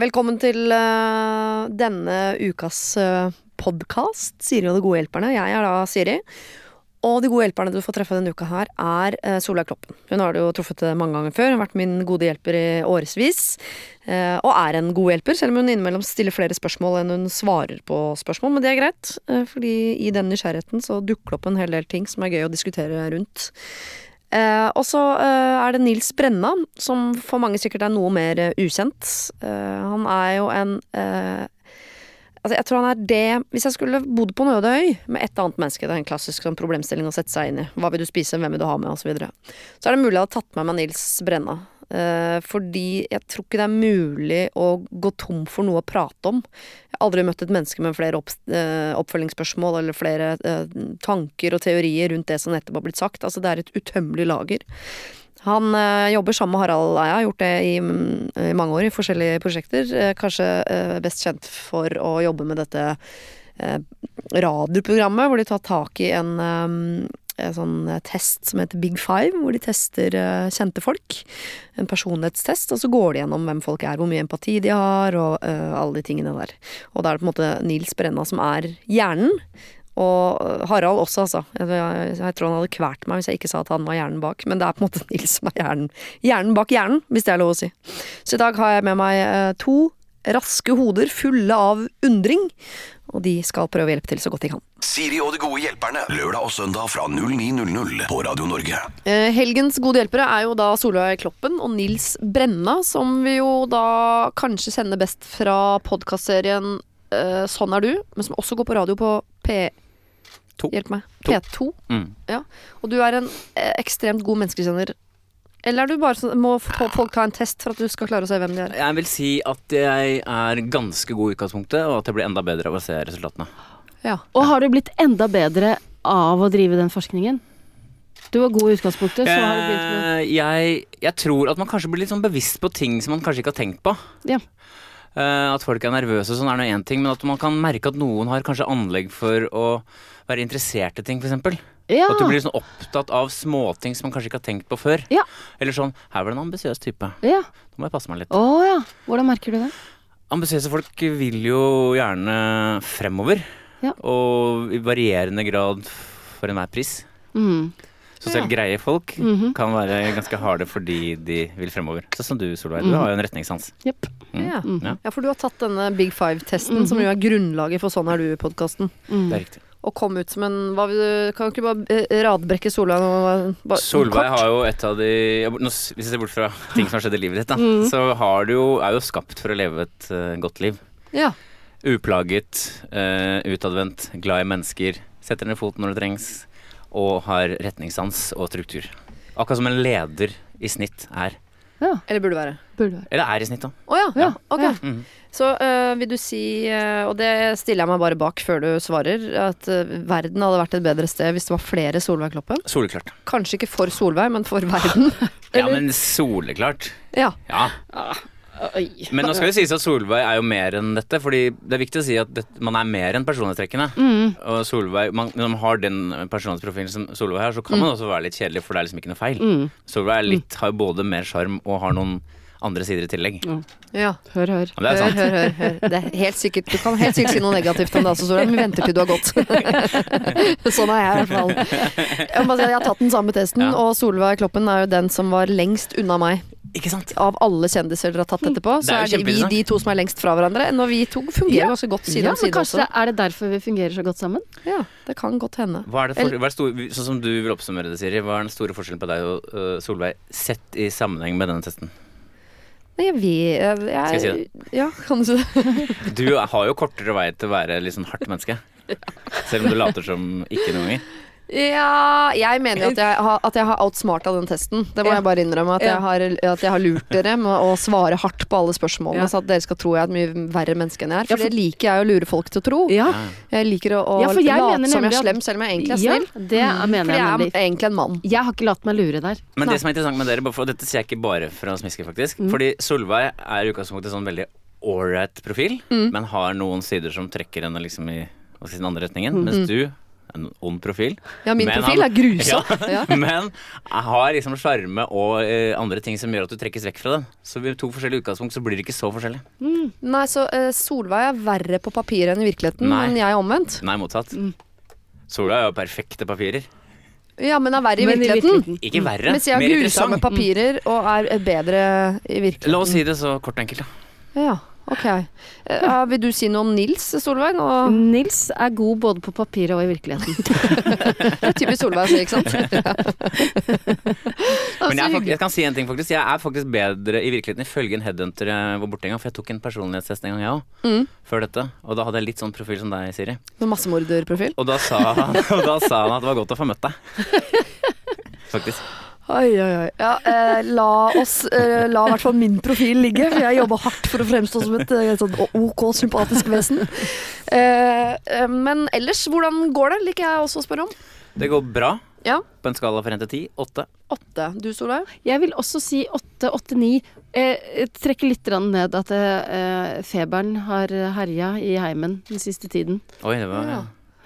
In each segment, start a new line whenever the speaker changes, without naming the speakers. Velkommen til eh, denne ukas uh, podkast, Siri og De gode hjelperne. Jeg er da Siri. Og de gode hjelperne du får treffe denne uka her, er eh, Solveig Kloppen. Hun har du jo truffet eh, mange ganger før. Hun har vært min gode hjelper i årevis. eh, og er en god hjelper, selv om hun innimellom stiller flere spørsmål enn hun svarer på spørsmål. Men det er greit, eh, fordi i den nysgjerrigheten så dukker det opp en hel del ting som er gøy å diskutere rundt. Eh, og så eh, er det Nils Brenna, som for mange sikkert er noe mer eh, ukjent. Eh, han er jo en eh, Altså jeg tror han er det Hvis jeg skulle bodd på en øde øy med et annet menneske Det er en klassisk sånn problemstilling å sette seg inn i. Hva vil du spise, hvem vil du ha med, osv. Så, videre. så er det mulig jeg hadde tatt med meg Nils Brenna. eh, fordi jeg tror ikke det er mulig å gå tom for noe å prate om. Jeg har aldri møtt et menneske med flere opp, eh, oppfølgingsspørsmål eller flere eh, tanker og teorier rundt det som nettopp har blitt sagt. Altså det er et utømmelig lager. Han eh, jobber sammen med Harald Eia, har gjort det i, mm, i mange år i forskjellige prosjekter. Eh, kanskje eh, best kjent for å jobbe med dette eh, radioprogrammet, hvor de tar tak i en, eh, en sånn test som heter Big Five, hvor de tester eh, kjente folk. En personlighetstest, og så går de gjennom hvem folk er, hvor mye empati de har, og eh, alle de tingene der. Og da er det på en måte Nils Brenna som er hjernen. Og Harald også, altså. Jeg, jeg, jeg tror han hadde kvalt meg hvis jeg ikke sa at han var hjernen bak. Men det er på en måte Nils som er hjernen. Hjernen bak hjernen, hvis det er lov å si. Så i dag har jeg med meg eh, to raske hoder fulle av undring. Og de skal prøve å hjelpe til så godt de kan.
Siri og de gode hjelperne. Lørdag og søndag fra 09.00 på Radio Norge.
Eh, Helgens gode hjelpere er jo da Solveig Kloppen og Nils Brenna, som vi jo da kanskje kjenner best fra podkastserien eh, Sånn er du, men som også går på radio på P...
To.
Hjelp meg.
To. Mm.
P2. Ja. Og du er en eh, ekstremt god menneskekjenner. Eller er du bare sånn, må få folk ta en test for at du skal klare å se hvem de er?
Jeg vil si at jeg er ganske god i utgangspunktet, og at jeg blir enda bedre av å se resultatene.
Ja.
Og har du blitt enda bedre av å drive den forskningen? Du var god i utgangspunktet, så har du begynt med
Eh, jeg, jeg tror at man kanskje blir litt sånn bevisst på ting som man kanskje ikke har tenkt på.
Ja.
Eh, at folk er nervøse og sånn er nå én ting, men at man kan merke at noen har kanskje anlegg for å være interessert i ting, f.eks.
ja.
At du blir sånn opptatt av småting som man kanskje ikke har tenkt på før.
Ah. Ja.
Eller sånn 'Her var det en ambisiøs type.
ja.
Nå må jeg passe meg litt'.
Å ja. Hvordan merker du det?
Ambisiøse folk vil jo gjerne fremover,
Ja.
og i varierende grad for enhver pris.
Mm.
Så selv greie folk
Mhm.
kan være ganske harde fordi de vil fremover. Sånn som du, Solveig. Du har jo en retningssans.
Jepp.
Mm.
Mm. Ja.
Ja.
ja, for du har tatt denne Big Five-testen, som jo er grunnlaget for Sånn er du-podkasten.
Mm.
Det er riktig.
Og kom ut som en hva vil du, Kan du ikke bare eh, radbrekke Solveig nå? Bare-
Solveig
kort?
har jo et av de ja, nå s- Hvis jeg ser bort fra ting som har skjedd i livet ditt, da,
Mm.
så har du jo, er jo skapt for å leve et eh, godt liv.
Ja.
Uplaget, eh, utadvendt, glad i mennesker, setter ned foten når det trengs, og har retningssans og struktur. Akkurat som en leder i snitt er.
Eller burde være.
Burde være.
Eller er i snitt, da.
Å ja.
Ja.
Ok.
Ja.
Mhm.
Så eh, vil du si, eh, og det stiller jeg meg bare bak før du svarer, at eh, verden hadde vært et bedre sted hvis det var flere Solveig Kloppen?
Soleklart.
Kanskje ikke for Solveig, men for verden.
Ja, men soleklart.
Ja.
Ja.
Oi.
Men nå skal det sies at Solveig er jo mer enn dette, fordi det er viktig å si at det, man er mer enn personlighetstrekkene. Og Solveig, man, når man har den personlighetsprofilen som Solveig har, så kan man også være litt kjedelig, for det er liksom ikke noe feil.
Mm.
Solveig er litt, har jo både mer sjarm og har noen andre sider i tillegg.
ja.
Hør, hør.
Ja, det er
Hør,
sant.
hør, hør, hør. Det er helt sikkert, du kan helt sikkert si noe negativt om det også, Solveig, men vi venter til du har gått. sånn er jeg i hvert fall. Jeg, må bare si at jeg har tatt den samme testen,
Ja.
og Solveig Kloppen er jo den som var lengst unna meg.
Ikke sant?
Av alle kjendiser dere har tatt etterpå,
Det
så Hmm.
er
er,
jo
vi
kjempeinteressant.
de to som er lengst fra hverandre. Enda vi to fungerer
Ja.
ganske godt side
Ja,
om
men
side
kanskje
også.
det er det derfor vi fungerer så godt sammen?
Ja, det kan godt hende.
Hva er det for, hva er stor, sånn som du vil oppsummere det, Siri, hva er den store forskjellen på deg og øh, Solveig sett i sammenheng med denne testen?
Nei, jeg vet jeg,
Skal jeg si
Ja, kan du si det?
Du har jo kortere vei til å være litt sånn hardt menneske. Selv om du later som ikke noen ganger.
Ja, jeg mener jo at jeg, har- at jeg har outsmarta den testen. Det må
Ja.
jeg bare innrømme. At jeg,
Ja.
har, at jeg har lurt dere med å svare hardt på alle spørsmålene,
Ja.
så at dere skal tro jeg er et mye verre menneske enn jeg er. For,
Ja, for-
det liker jeg å lure folk til å tro.
Ja.
Jeg liker å, å
Ja, for jeg mener
late som jeg
nemlig
er
at-
slem, selv om jeg egentlig er
Ja,
snill.
det er- mener
Fordi
jeg
jeg
nemlig.
er egentlig en mann.
Jeg har ikke latt meg lure der.
Nei.
Men
Mm.
det som er interessant med dere, bare for- og dette sier jeg ikke bare for å smiske, faktisk. Fordi Solveig er i utgangspunktet en sånn
Mm.
veldig ålreit profil, men har noen sider som trekker henne liksom i hva skal jeg si, den andre retningen. Mens du en ond profil.
Mm-hmm. Ja, min
Men
profil
han-
er grusom. Ja.
Men jeg har liksom sjarme og eh, andre ting som gjør at du trekkes vekk fra den. Så ved to forskjellige utgangspunkt så blir det ikke så forskjellig.
Nei, så eh, Solveig er verre på papiret enn i virkeligheten,
Nei.
men jeg er omvendt.
Nei, motsatt.
Mm.
Sola er jo perfekte papirer.
Ja, men er verre i
Men i
virkeligheten.
virkeligheten.
Ikke verre,
Mm. Mens jeg har
mer
grusomme
interessant.
papirer og er eh, bedre i virkeligheten.
La oss si det så kort og enkelt, da.
Ja, ok. Eh, ja, vil du si noe om Nils Solveig? Nå-
Nils er god både på papiret og i virkeligheten.
Det er typisk Solveig å si, ikke sant? Ja.
Altså,
Men jeg, er fak-
hyggelig.
jeg kan si en ting, faktisk. Jeg er faktisk bedre i virkeligheten ifølge en headhunter jeg var borte en gang. For jeg tok en personlighetstest en gang, jeg òg.
Mm.
Før dette. Og da hadde jeg litt sånn profil som deg, Siri.
Med massemorderprofil.
Og da sa han, og da sa han at det var godt å få møtt deg. Faktisk.
Oi, oi, oi. Ja, eh, la oss eh, La i hvert fall min profil ligge, for jeg jobber hardt for å fremstå som et eh, sånn OK sympatisk vesen. Eh, eh, men ellers, hvordan går det? Liker jeg også å spørre om.
Det går bra
Ja,
på en skala fra 1 til 10. 8.
åtte. Du, Solveig?
Jeg vil også si åtte, åtte, ni. Eh, trekker litt grann ned at eh, feberen har eh, herja i heimen den siste tiden.
Oi, det var
Ja.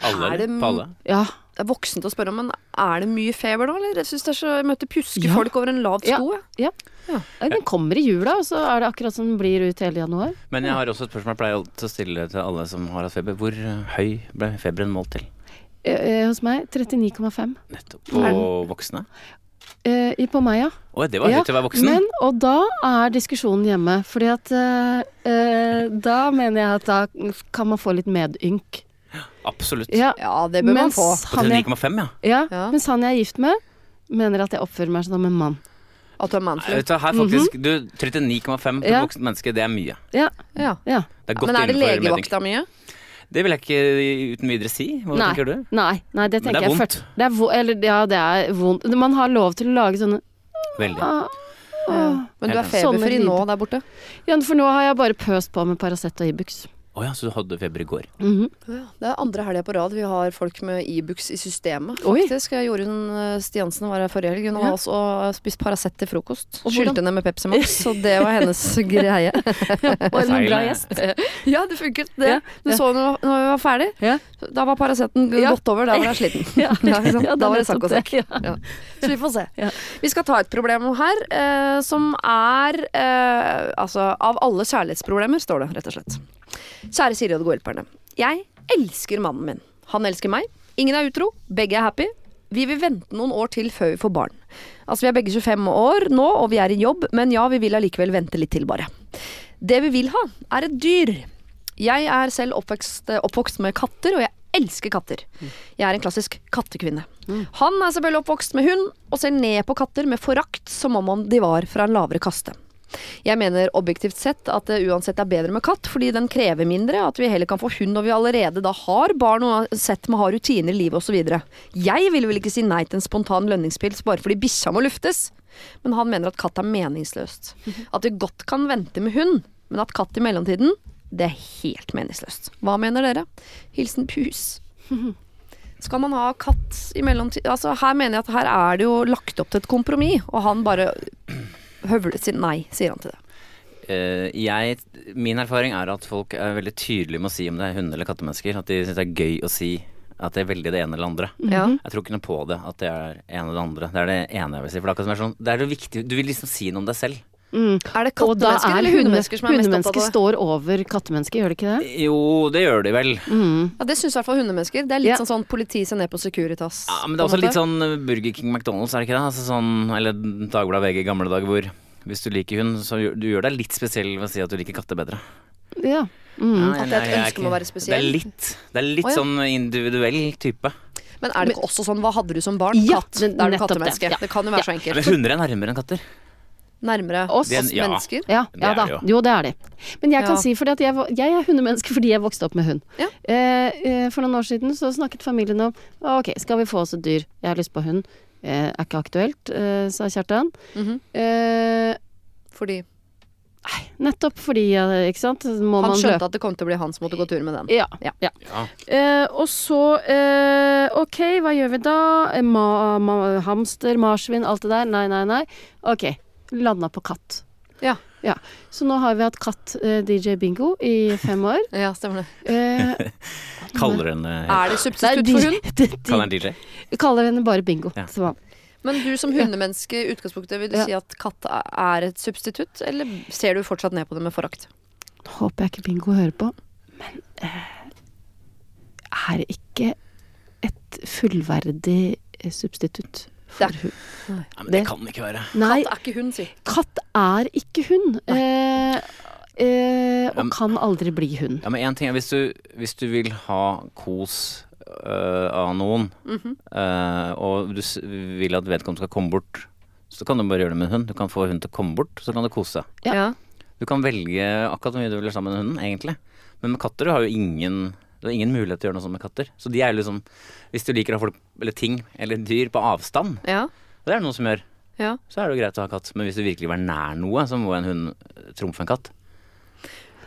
alle,
Er det
eller? På alle.
Ja,
Det er voksent å spørre om, men er det mye feber nå, eller? Jeg syns det er så Jeg møter
Ja.
pjuskefolk over en lav
Ja.
sko, jeg.
ja.
Ja.
Nei, Den kommer i jula, og så er det akkurat som den blir ut hele januar.
Men jeg har også et spørsmål jeg pleier alltid å stille til alle som har hatt feber. Hvor eh, høy ble feberen målt til?
Eh, eh, hos meg 39,5.
Nettopp. På voksne?
Eh, i- på meg, ja.
Oi, det var
Ja,
høyt til å være voksen.
Men, og da er diskusjonen hjemme. Fordi at eh, eh, Da mener jeg at da kan man få litt medynk.
Absolutt.
Ja,
Ja, det bør man
mens
få.
På
han jeg,
39,5, ja.
ja,
Ja.
Mens han jeg er gift med, mener at jeg oppfører meg som en mann.
At du er
Nei,
manflu.
Vet du, her faktisk, du, 39,5 på
Mhm. Ja.
et voksent menneske, det er mye.
Ja,
Ja.
ja.
Det er godt
Men er det
innenfor medding.
legevakta mye?
Det vil jeg ikke uten videre si. Hva
Nei.
tenker du?
Nei, nei,
Men
det
det
tenker
er
jeg
vondt.
først. Det er vo eller, ja, det er vondt. Man har lov til å lage sånne
Veldig.
ah,
Ja. Men du er
Sånne
feberfri
lyd.
nå der borte?
Ja, for nå har jeg bare pøst på med Paracet og Ibux.
Å ja, så du hadde feber i går.
Mhm.
Ja, Det er andre helga på rad vi har folk med Ibux i systemet,
Oi.
faktisk. Jeg Jorunn eh, Stiansen var her forrige helg. Hun har
Ja.
også spist Paracet til frokost.
Og hvordan-
Skyldte henne med Pepsi Max, så det var hennes greie.
Og en
Feil,
bra
ja.
gjest.
ja, det funket,
Ja,
det. Du
ja.
så henne når vi var ferdig.
Ja.
Da var Paraceten
Ja.
gått over, da var jeg sliten.
Ja,
Ja, ikke sant?
det er
Da var det
nettopp
sak og sak.
det, ja.
Så vi får se.
Ja.
Vi skal ta et problem her, eh, som er eh, altså Av alle kjærlighetsproblemer, står det rett og slett. Kjære Siri og de gode hjelperne. Jeg elsker mannen min. Han elsker meg. Ingen er utro. Begge er happy. Vi vil vente noen år til før vi får barn. Altså, vi er begge 25 år nå, og vi er i jobb, men ja, vi vil allikevel vente litt til, bare. Det vi vil ha, er et dyr. Jeg er selv oppvokst, oppvokst med katter, og jeg elsker katter. Jeg er en klassisk kattekvinne. Han er selvfølgelig oppvokst med hund, og ser ned på katter med forakt som om de var fra en lavere kaste. Jeg mener objektivt sett at det uansett er bedre med katt, fordi den krever mindre, at vi heller kan få hund når vi allerede da har barn, uansett med å ha rutiner i livet osv. Jeg vil vel ikke si nei til en spontan lønningspils bare fordi bikkja må luftes, men han mener at katt er meningsløst. At vi godt kan vente med hund, men at katt i mellomtiden, det er helt meningsløst. Hva mener dere? Hilsen pus. Skal man ha katt i mellomtiden altså, Her mener jeg at her er det jo lagt opp til et kompromiss, og han bare høvlet sin nei, sier han til det.
Eh, jeg, min erfaring er at folk er veldig tydelige med å si om det er hunde- eller kattemennesker. At de syns det er gøy å si at det er veldig det ene eller andre.
Mm.
Ja.
Jeg tror ikke noe på det at det er ene eller andre. Det er det ene jeg vil si. For det er akkurat som det er sånn, det er det viktige Du vil liksom si noe om deg selv.
Mm.
Er det
Og
kattemennesker
da er
eller
hunde-
hundemennesker som er mest
hundemennesker
opptatt av det?
står over kattemennesker, gjør det Mhm. ikke det?
Jo, det gjør de vel.
Ja, det syns i hvert fall hundemennesker. Det er litt
Ja.
sånn sånn politi ser ned på Securitas.
Ja, men det er
på en
også litt
måte.
sånn Burger King McDonald's, er det ikke det? Altså sånn, eller Dagbladet VG i gamle dager hvor hvis du liker hund, så gjør du gjør deg litt spesiell ved å si at du liker katter bedre.
Ja. Mm.
Nei,
At det er et
nei, jeg
ønske om å
ikke-
være spesiell.
Det er litt, det er litt
Å, ja.
sånn individuell type.
Men er det ikke også sånn hva hadde du som barn?
Ja,
Katt. Da er du
nettopp det.
kattemenneske.
Ja.
Det kan jo være så
Men
enkelt.
hunder er nærmere enn katter.
Nærmere oss
Oss.
Det er en- ja.
mennesker.
Ja,
Det
ja
er
da.
det jo.
Jo, det er de. Men jeg kan
Ja.
si, fordi at jeg, var- jeg er hundemenneske fordi jeg vokste opp med hund.
Ja.
Eh, eh, for noen år siden så snakket familien om Ok, skal vi få oss et dyr? Jeg har lyst på hund. Eh, er ikke aktuelt, eh, sa Kjartan.
Mhm.
eh,
Fordi
nettopp fordi, eh, ikke sant Må
han
man
skjønte
løpe
at det kom til å bli han som måtte gå tur med den.
ja,
Ja.
ja. Eh, og så eh, Ok, hva gjør vi da? Eh, Ma, ma, hamster, marsvin, alt det der. Nei, nei, nei. Ok. Landa på katt.
Ja.
Ja. Så nå har vi hatt katt eh, DJ Bingo i fem år.
ja, stemmer det.
Eh,
Kaller henne
Er det
nei,
substitutt
de-
for hund?
de- de-
eh, Kaller henne DJ.
Kaller henne bare Bingo.
Ja.
som vanlig.
Men du som hundemenneske, i utgangspunktet, vil du
Ja.
si at katt er et substitutt, eller ser du fortsatt ned på det med forakt?
Håper jeg ikke Bingo hører på. Men eh, er ikke et fullverdig eh, substitutt for
Det-
hund.
Ja, men det
Det-
kan det ikke være.
Nei,
Katt er ikke hund, si.
katt er ikke hund. Eh, eh,
Ja, men-
og kan aldri bli hund.
Ja, men en ting er hvis du, hvis du vil ha kos øh, av noen,
Mhm.
øh, og du s vil at vedkommende skal komme bort, så kan du bare gjøre det med en hund. Du kan få hunden til å komme bort, så kan du kose deg.
Ja.
Du kan velge akkurat hvor mye du vil være sammen med hunden, egentlig. Men med katter du har jo ingen du har ingen mulighet til å gjøre noe sånt med katter. Så de er jo liksom Hvis du liker å ha folk eller ting eller dyr på avstand,
Ja.
og det er det noen som gjør,
Ja.
så er det jo greit å ha katt. Men hvis du virkelig vil være nær noe, så må en hund trumfe en katt.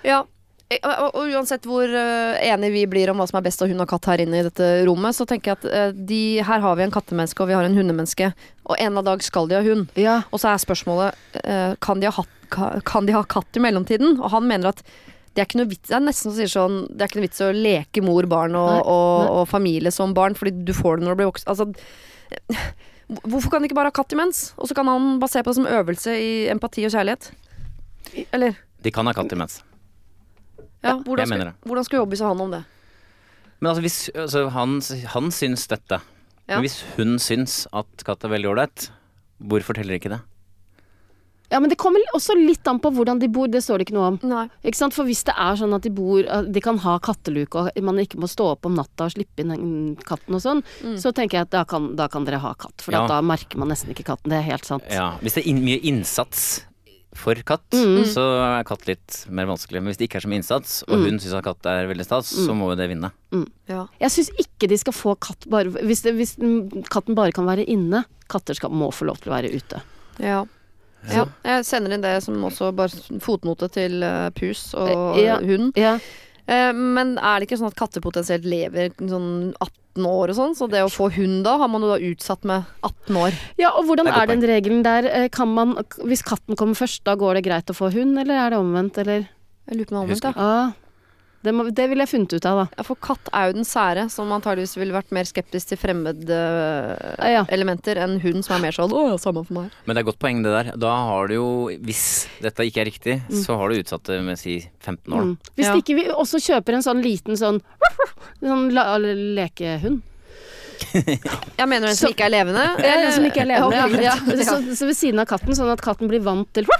Ja. Eh, Og, og uansett hvor eh, enige vi blir om hva som er best av hund og katt her inne i dette rommet, så tenker jeg at eh, de, her har vi en kattemenneske og vi har en hundemenneske, og en eller annen dag skal de ha hund.
Ja.
Og så er spørsmålet eh, kan, de ha hatt, ka- kan de ha katt i mellomtiden? Og han mener at det er ikke noe vits, det er nesten som sier sånn, det er ikke noe vits å leke mor, barn og,
Nei,
og,
nei.
og familie som barn, fordi du får det når du blir voksen. Altså, eh, hvorfor kan de ikke bare ha katt imens? Og så kan han bare se på det som øvelse i empati og kjærlighet. Eller?
De kan ha katt imens.
Ja,
jeg
hvordan, skal,
mener det.
hvordan skal Jobbis og han om det?
Men altså, hvis, altså han, han syns dette.
Ja.
Men hvis hun syns at katt er veldig ålreit, hvorfor teller ikke det?
ja, men det kommer også litt an på hvordan de bor. Det står det ikke noe om.
Nei.
Ikke sant? For hvis det er sånn at de bor at De kan ha katteluke, og man ikke må stå opp om natta og slippe inn den katten og sånn, så tenker jeg at da kan, da kan dere ha katt. For
Ja.
at da merker man nesten ikke katten. Det er helt sant.
Ja, hvis det er inn, mye innsats for katt, så er katt litt mer vanskelig. Men hvis det ikke er så mye innsats, og hun syns at katt er veldig stas, så må jo det vinne.
Ja.
Jeg syns ikke de skal få katt bare hvis, det, hvis den- katten bare kan være inne. Katter skal, må få lov til å være ute.
Ja. ja. Jeg sender inn det som også bare fotnote til eh, pus og
Eh, ja.
hund.
Ja.
Eh, Men er det ikke sånn at katter potensielt lever sånn 18 år og sånn? Så det å få hund da, har man jo da utsatt med 18 år.
ja, og hvordan
Det er
er,
godt
den regelen der? Eh, Kan man, hvis katten kommer først, da går det greit å få hund, eller er det omvendt, eller?
Jeg lurer på noe annet,
Jeg husker
da.
Ja. Det, må, det ville jeg funnet ut av, da.
Ja, for katt er jo den sære, som antageligvis ville vært mer skeptisk til fremmede eh,
Eh,
Ah, Ja, ja.
elementer enn hund, som er mer sånn 'Å ja, samme for meg'.
Men det er et godt poeng, det der. Da har du jo, hvis dette ikke er riktig, så har du utsatt det med si 15 år. da.
Mm. Hvis
Ja.
ikke vi også kjøper en sånn liten sånn, sånn la, lekehund.
Jeg mener den som
Så-
ikke er levende.
Eller en som ikke er levende.
Ja, ok,
Eh, Ja.
greit.
Så, så ved siden av katten, sånn at katten blir vant til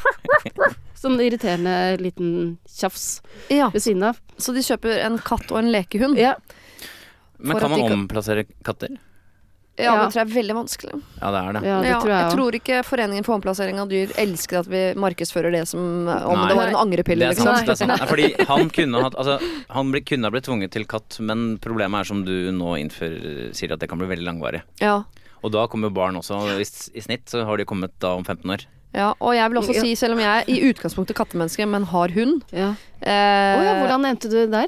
Sånn irriterende liten tjafs
Ja.
ved siden av.
Så de kjøper en katt og en lekehund.
Ja.
Men
For
kan
at
man
de
omplassere katter?
Ja,
Ja.
det tror jeg er veldig vanskelig.
Ja, det er det.
Ja, det
Ja,
tror jeg
jeg
òg.
tror ikke Foreningen for omplassering av dyr elsker at vi markedsfører det som om
Nei.
det var en angrepille.
Det er sant.
Liksom.
Det er sant. Nei, Fordi han kunne hatt altså, Han ble, kunne ha blitt tvunget til katt, men problemet er som du nå innfører, sier at det kan bli veldig langvarig.
Ja.
Og da kommer barn også. og Hvis, I snitt så har de kommet da om 15 år.
Ja, og jeg vil også si, selv om jeg er i utgangspunktet kattemenneske, men har hund
Ja.
eh,
Å ja, hvordan nevnte du det der?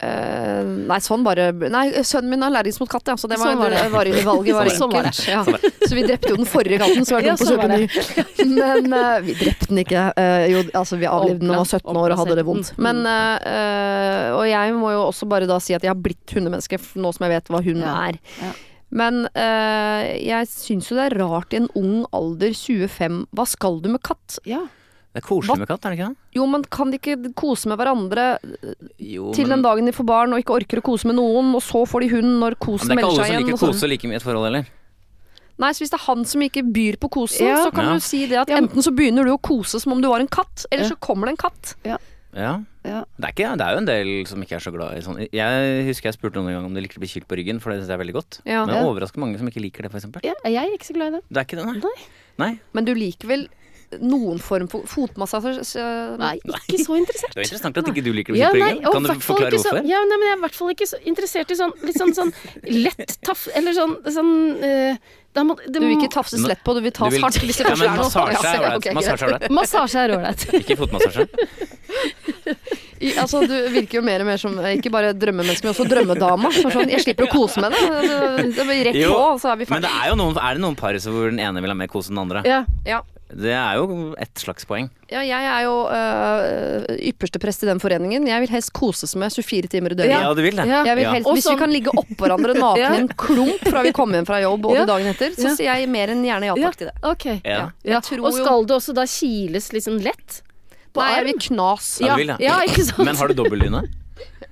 eh, Nei, sånn bare Nei, sønnen min er allergisk mot katt, ja, så det var,
Sånn var det.
det var i valget. Var
Sånn var det.
enkelt. Ja. Så vi drepte jo den forrige katten, så var det
Ja,
dumt å
sånn var
kjøpe en ny. Men eh, vi drepte den ikke. Eh, jo, altså vi avlivde den da den var 17 år og hadde det vondt. Men, eh, eh, og jeg må jo også bare da si at jeg har blitt hundemenneske f- nå som jeg vet hva hund
Ja.
er.
Ja.
Men eh, jeg syns jo det er rart i en ung alder, 25, hva skal du med katt?
Ja.
Det er koselig med katt, er det ikke det?
Jo, men kan de ikke kose med hverandre
Jo,
til den dagen de får barn og ikke orker å kose med noen, og så får de hund når
men
kosen
det er
melder
ikke
seg
alle som
igjen?
liker
og sånn.
kose like mye i et forhold heller.
Nei, så hvis det er han som ikke byr på kosen,
Ja.
så kan
Ja.
du si det at
Ja, men-
enten så begynner du å kose som om du var en katt, eller
Ja.
så kommer det en katt.
Ja.
Ja.
Det, er ikke, det er jo en del som ikke er så glad i sånn Jeg husker jeg spurte noen gang om de likte å bli kylt på ryggen, for det syns jeg er veldig godt.
Ja.
Men det er overraskende mange som ikke liker det, for eksempel.
ja. Jeg er ikke så glad i det.
Det er ikke det, nei. Nei.
Men du liker vel noen form for fotmassasje? eh, så-
Nei, ikke så interessert.
Det er interessant at ikke du liker å bli
Ja,
kylt på
nei,
ryggen.
og
Kan du
hvertfall
forklare
ikke så-
hvorfor?
Ja, nei, men jeg er i hvert fall ikke så interessert i sånn litt sånn, sånn lett taff... Eller sånn, sånn eh, da må, det
Du vil
må-
ikke tafses
Men-
lett på, du vil
Du
tas
vil-
hardt hvis det
ja,
først
men
er noe.
massasje
Ja,
er
ja,
ålreit.
ok,
Massasje er ålreit.
Massasje er ålreit.
Ikke fotmassasje.
greit. I- Altså, du virker jo mer og mer som eh, ikke bare drømmemenneske, men også drømmedama. Som er sånn, jeg slipper å kose med det. Altså, Det blir rett
Jo,
på, og så er vi
Men det
ferdig.
er jo noen, er det noen par som hvor den ene vil ha mer kos enn den andre?
Ja.
Ja.
Det er jo ett slags poeng.
Ja, jeg er jo øh, ypperste prest i den foreningen. Jeg vil helst koses med 24 timer i døgnet.
Ja, du vil det.
Ja.
Jeg vil
Ja.
helst,
Og
hvis
sånn-
vi kan ligge oppå hverandre nakne i en klump fra vi kommer hjem fra jobb og
Ja.
dagen etter, så
Ja.
sier jeg mer enn gjerne ja takk til det.
Ok.
Ja.
Ja.
Jeg tror
Og
jo-
skal det også da kiles liksom lett? På
Nei, jeg
arm?
vil knas.
Ja, du vil det.
ja, ikke sant?
Men har du dobbeltdyne?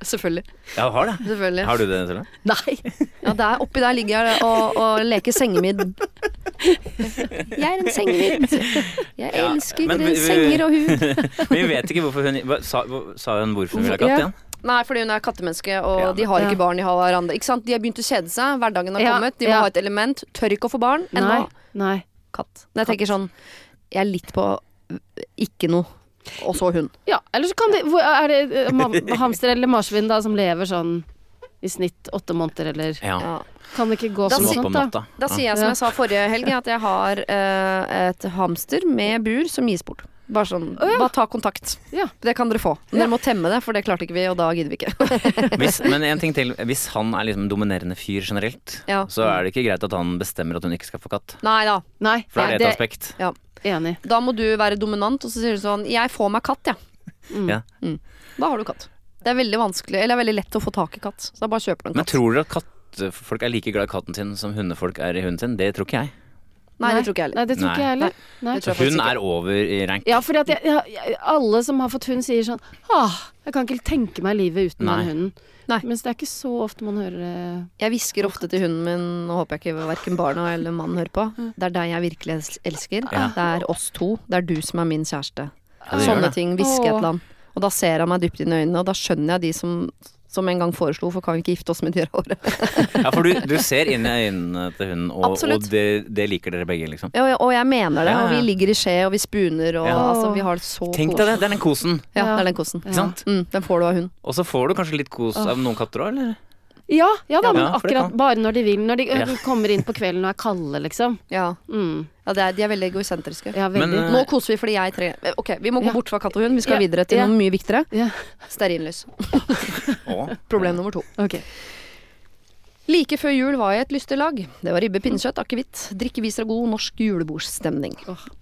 Selvfølgelig.
Ja, du har det.
Selvfølgelig.
Har du det, Telle?
Nei.
Ja, der, oppi der ligger jeg og, og leker sengemidd. Jeg er en sengemidd. Jeg
Ja,
elsker
men vi- vi-
senger og hud.
Men vi vet ikke hvorfor hun hva, sa, hva- sa hun hvorfor hun ville ha katt
Ja.
igjen?
Nei, fordi hun er kattemenneske, og
Ja.
de har
Ja.
ikke barn. De har hverandre. Ikke sant? De har begynt å kjede seg. Hverdagen har
Ja,
kommet. De må
ja.
ha et element. Tør ikke å få barn
Nei.
ennå.
Nei.
Katt. Men jeg tenker sånn Jeg er litt på ikke noe, og så hun.
Ja, eller så kan det hvor, Er det eh, ma- hamster eller marsvin da som lever sånn i snitt åtte måneder, eller
Ja.
Ja.
Kan det ikke gå
Da
som
si-
Opp
sånt,
om
da?
natta.
Da sier jeg som
Ja.
jeg sa forrige helg, at jeg har eh, et hamster med bur som gis bort. Bare sånn, bare ta kontakt.
Ja.
Det kan dere få. Men dere må temme det, for det klarte ikke vi, og da gidder vi ikke.
Hvis, men en ting til. Hvis han er liksom en dominerende fyr generelt,
Ja.
så er det ikke greit at han bestemmer at hun ikke skal få katt.
Nei da.
Nei,
For da
Nei,
er det
det-
et aspekt.
Ja.
enig.
Da må du være dominant, og så sier du sånn Jeg får meg katt, jeg.
Ja.
Ja. Da har du katt. Det er veldig vanskelig, eller det er veldig lett å få tak i katt. Så da bare kjøper du en
Men
katt.
tror dere at kattefolk er like glad i katten sin som hundefolk er i hunden sin? Det tror ikke jeg.
Nei, det tror ikke jeg heller.
Nei, det tror ikke jeg heller. Nei.
Det tror jeg
Hun
faktisk ikke.
er over i rank.
Ja, fordi at jeg, jeg, jeg, alle som har fått hund, sier sånn Åh, jeg kan ikke tenke meg livet uten
Nei.
den hunden.
Nei.
Mens det er ikke så ofte man hører eh,
Jeg hvisker ofte til hunden min, og håper jeg ikke verken barna eller mannen hører på. Det er deg jeg virkelig els- elsker.
Ja.
Det er oss to. Det er du som er min kjæreste.
det gjør
Sånne
det.
ting. Hviske et
Åh.
eller annet. Og da ser han meg dypt inn i øynene, og da skjønner jeg de som, som en gang foreslo, for kan vi ikke gifte oss med de året?
Ja, for du, du ser inn i øynene til hunden, og, og
Absolutt.
det, det liker dere begge, liksom.
Og, jeg- og jeg mener det,
Ja, ja.
og vi ligger i skje, og vi spooner, og
Ja.
altså, vi har det så
Tenk deg det, det er den kosen.
Ja, det er den kosen.
Ikke sant?
Mm, den får du av hun.
Og så får du kanskje litt kos av noen katter òg, eller?
Ja, ja da, men
Ja, for det
akkurat
kan.
bare når de vil. Når de eh,
Ja.
kommer inn på kvelden og er kalde, liksom.
Ja,
Mm.
ja det er, de er veldig egosentriske.
Ja,
Men,
veldig.
eh,
Nå koser vi fordi jeg trenger Ok, vi må gå
Ja.
bort fra katt og hund. Vi skal
Ja.
videre til
Ja.
noe mye viktigere.
ja.
Stearinlys.
Å.
Problem nummer to.
Ok.
Like før jul var jeg i et lystig lag. Det var ribbe, pinnekjøtt, akevitt, drikkeviser og god norsk julebordsstemning.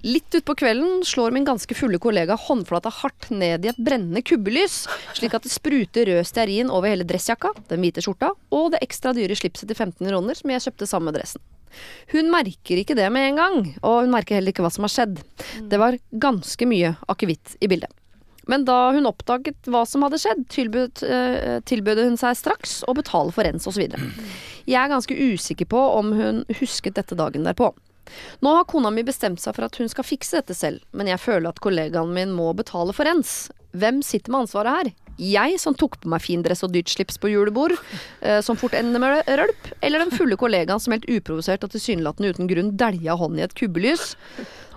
Litt utpå kvelden slår min ganske fulle kollega håndflata hardt ned i et brennende kubbelys, slik at det spruter rød stearin over hele dressjakka, den hvite skjorta og det ekstra dyre slipset til 15 kroner som jeg kjøpte sammen med dressen. Hun merker ikke det med en gang, og hun merker heller ikke hva som har skjedd. Det var ganske mye akevitt i bildet. Men da hun oppdaget hva som hadde skjedd, tilbød, eh, tilbød hun seg straks å betale for rens osv. Jeg er ganske usikker på om hun husket dette dagen derpå. Nå har kona mi bestemt seg for at hun skal fikse dette selv, men jeg føler at kollegaen min må betale for rens. Hvem sitter med ansvaret her? Jeg som tok på meg fin dress og dyrt slips på julebord, eh, som fort ender med rølp, eller den fulle kollegaen som helt uprovosert og tilsynelatende uten grunn dælja hånden i et kubbelys?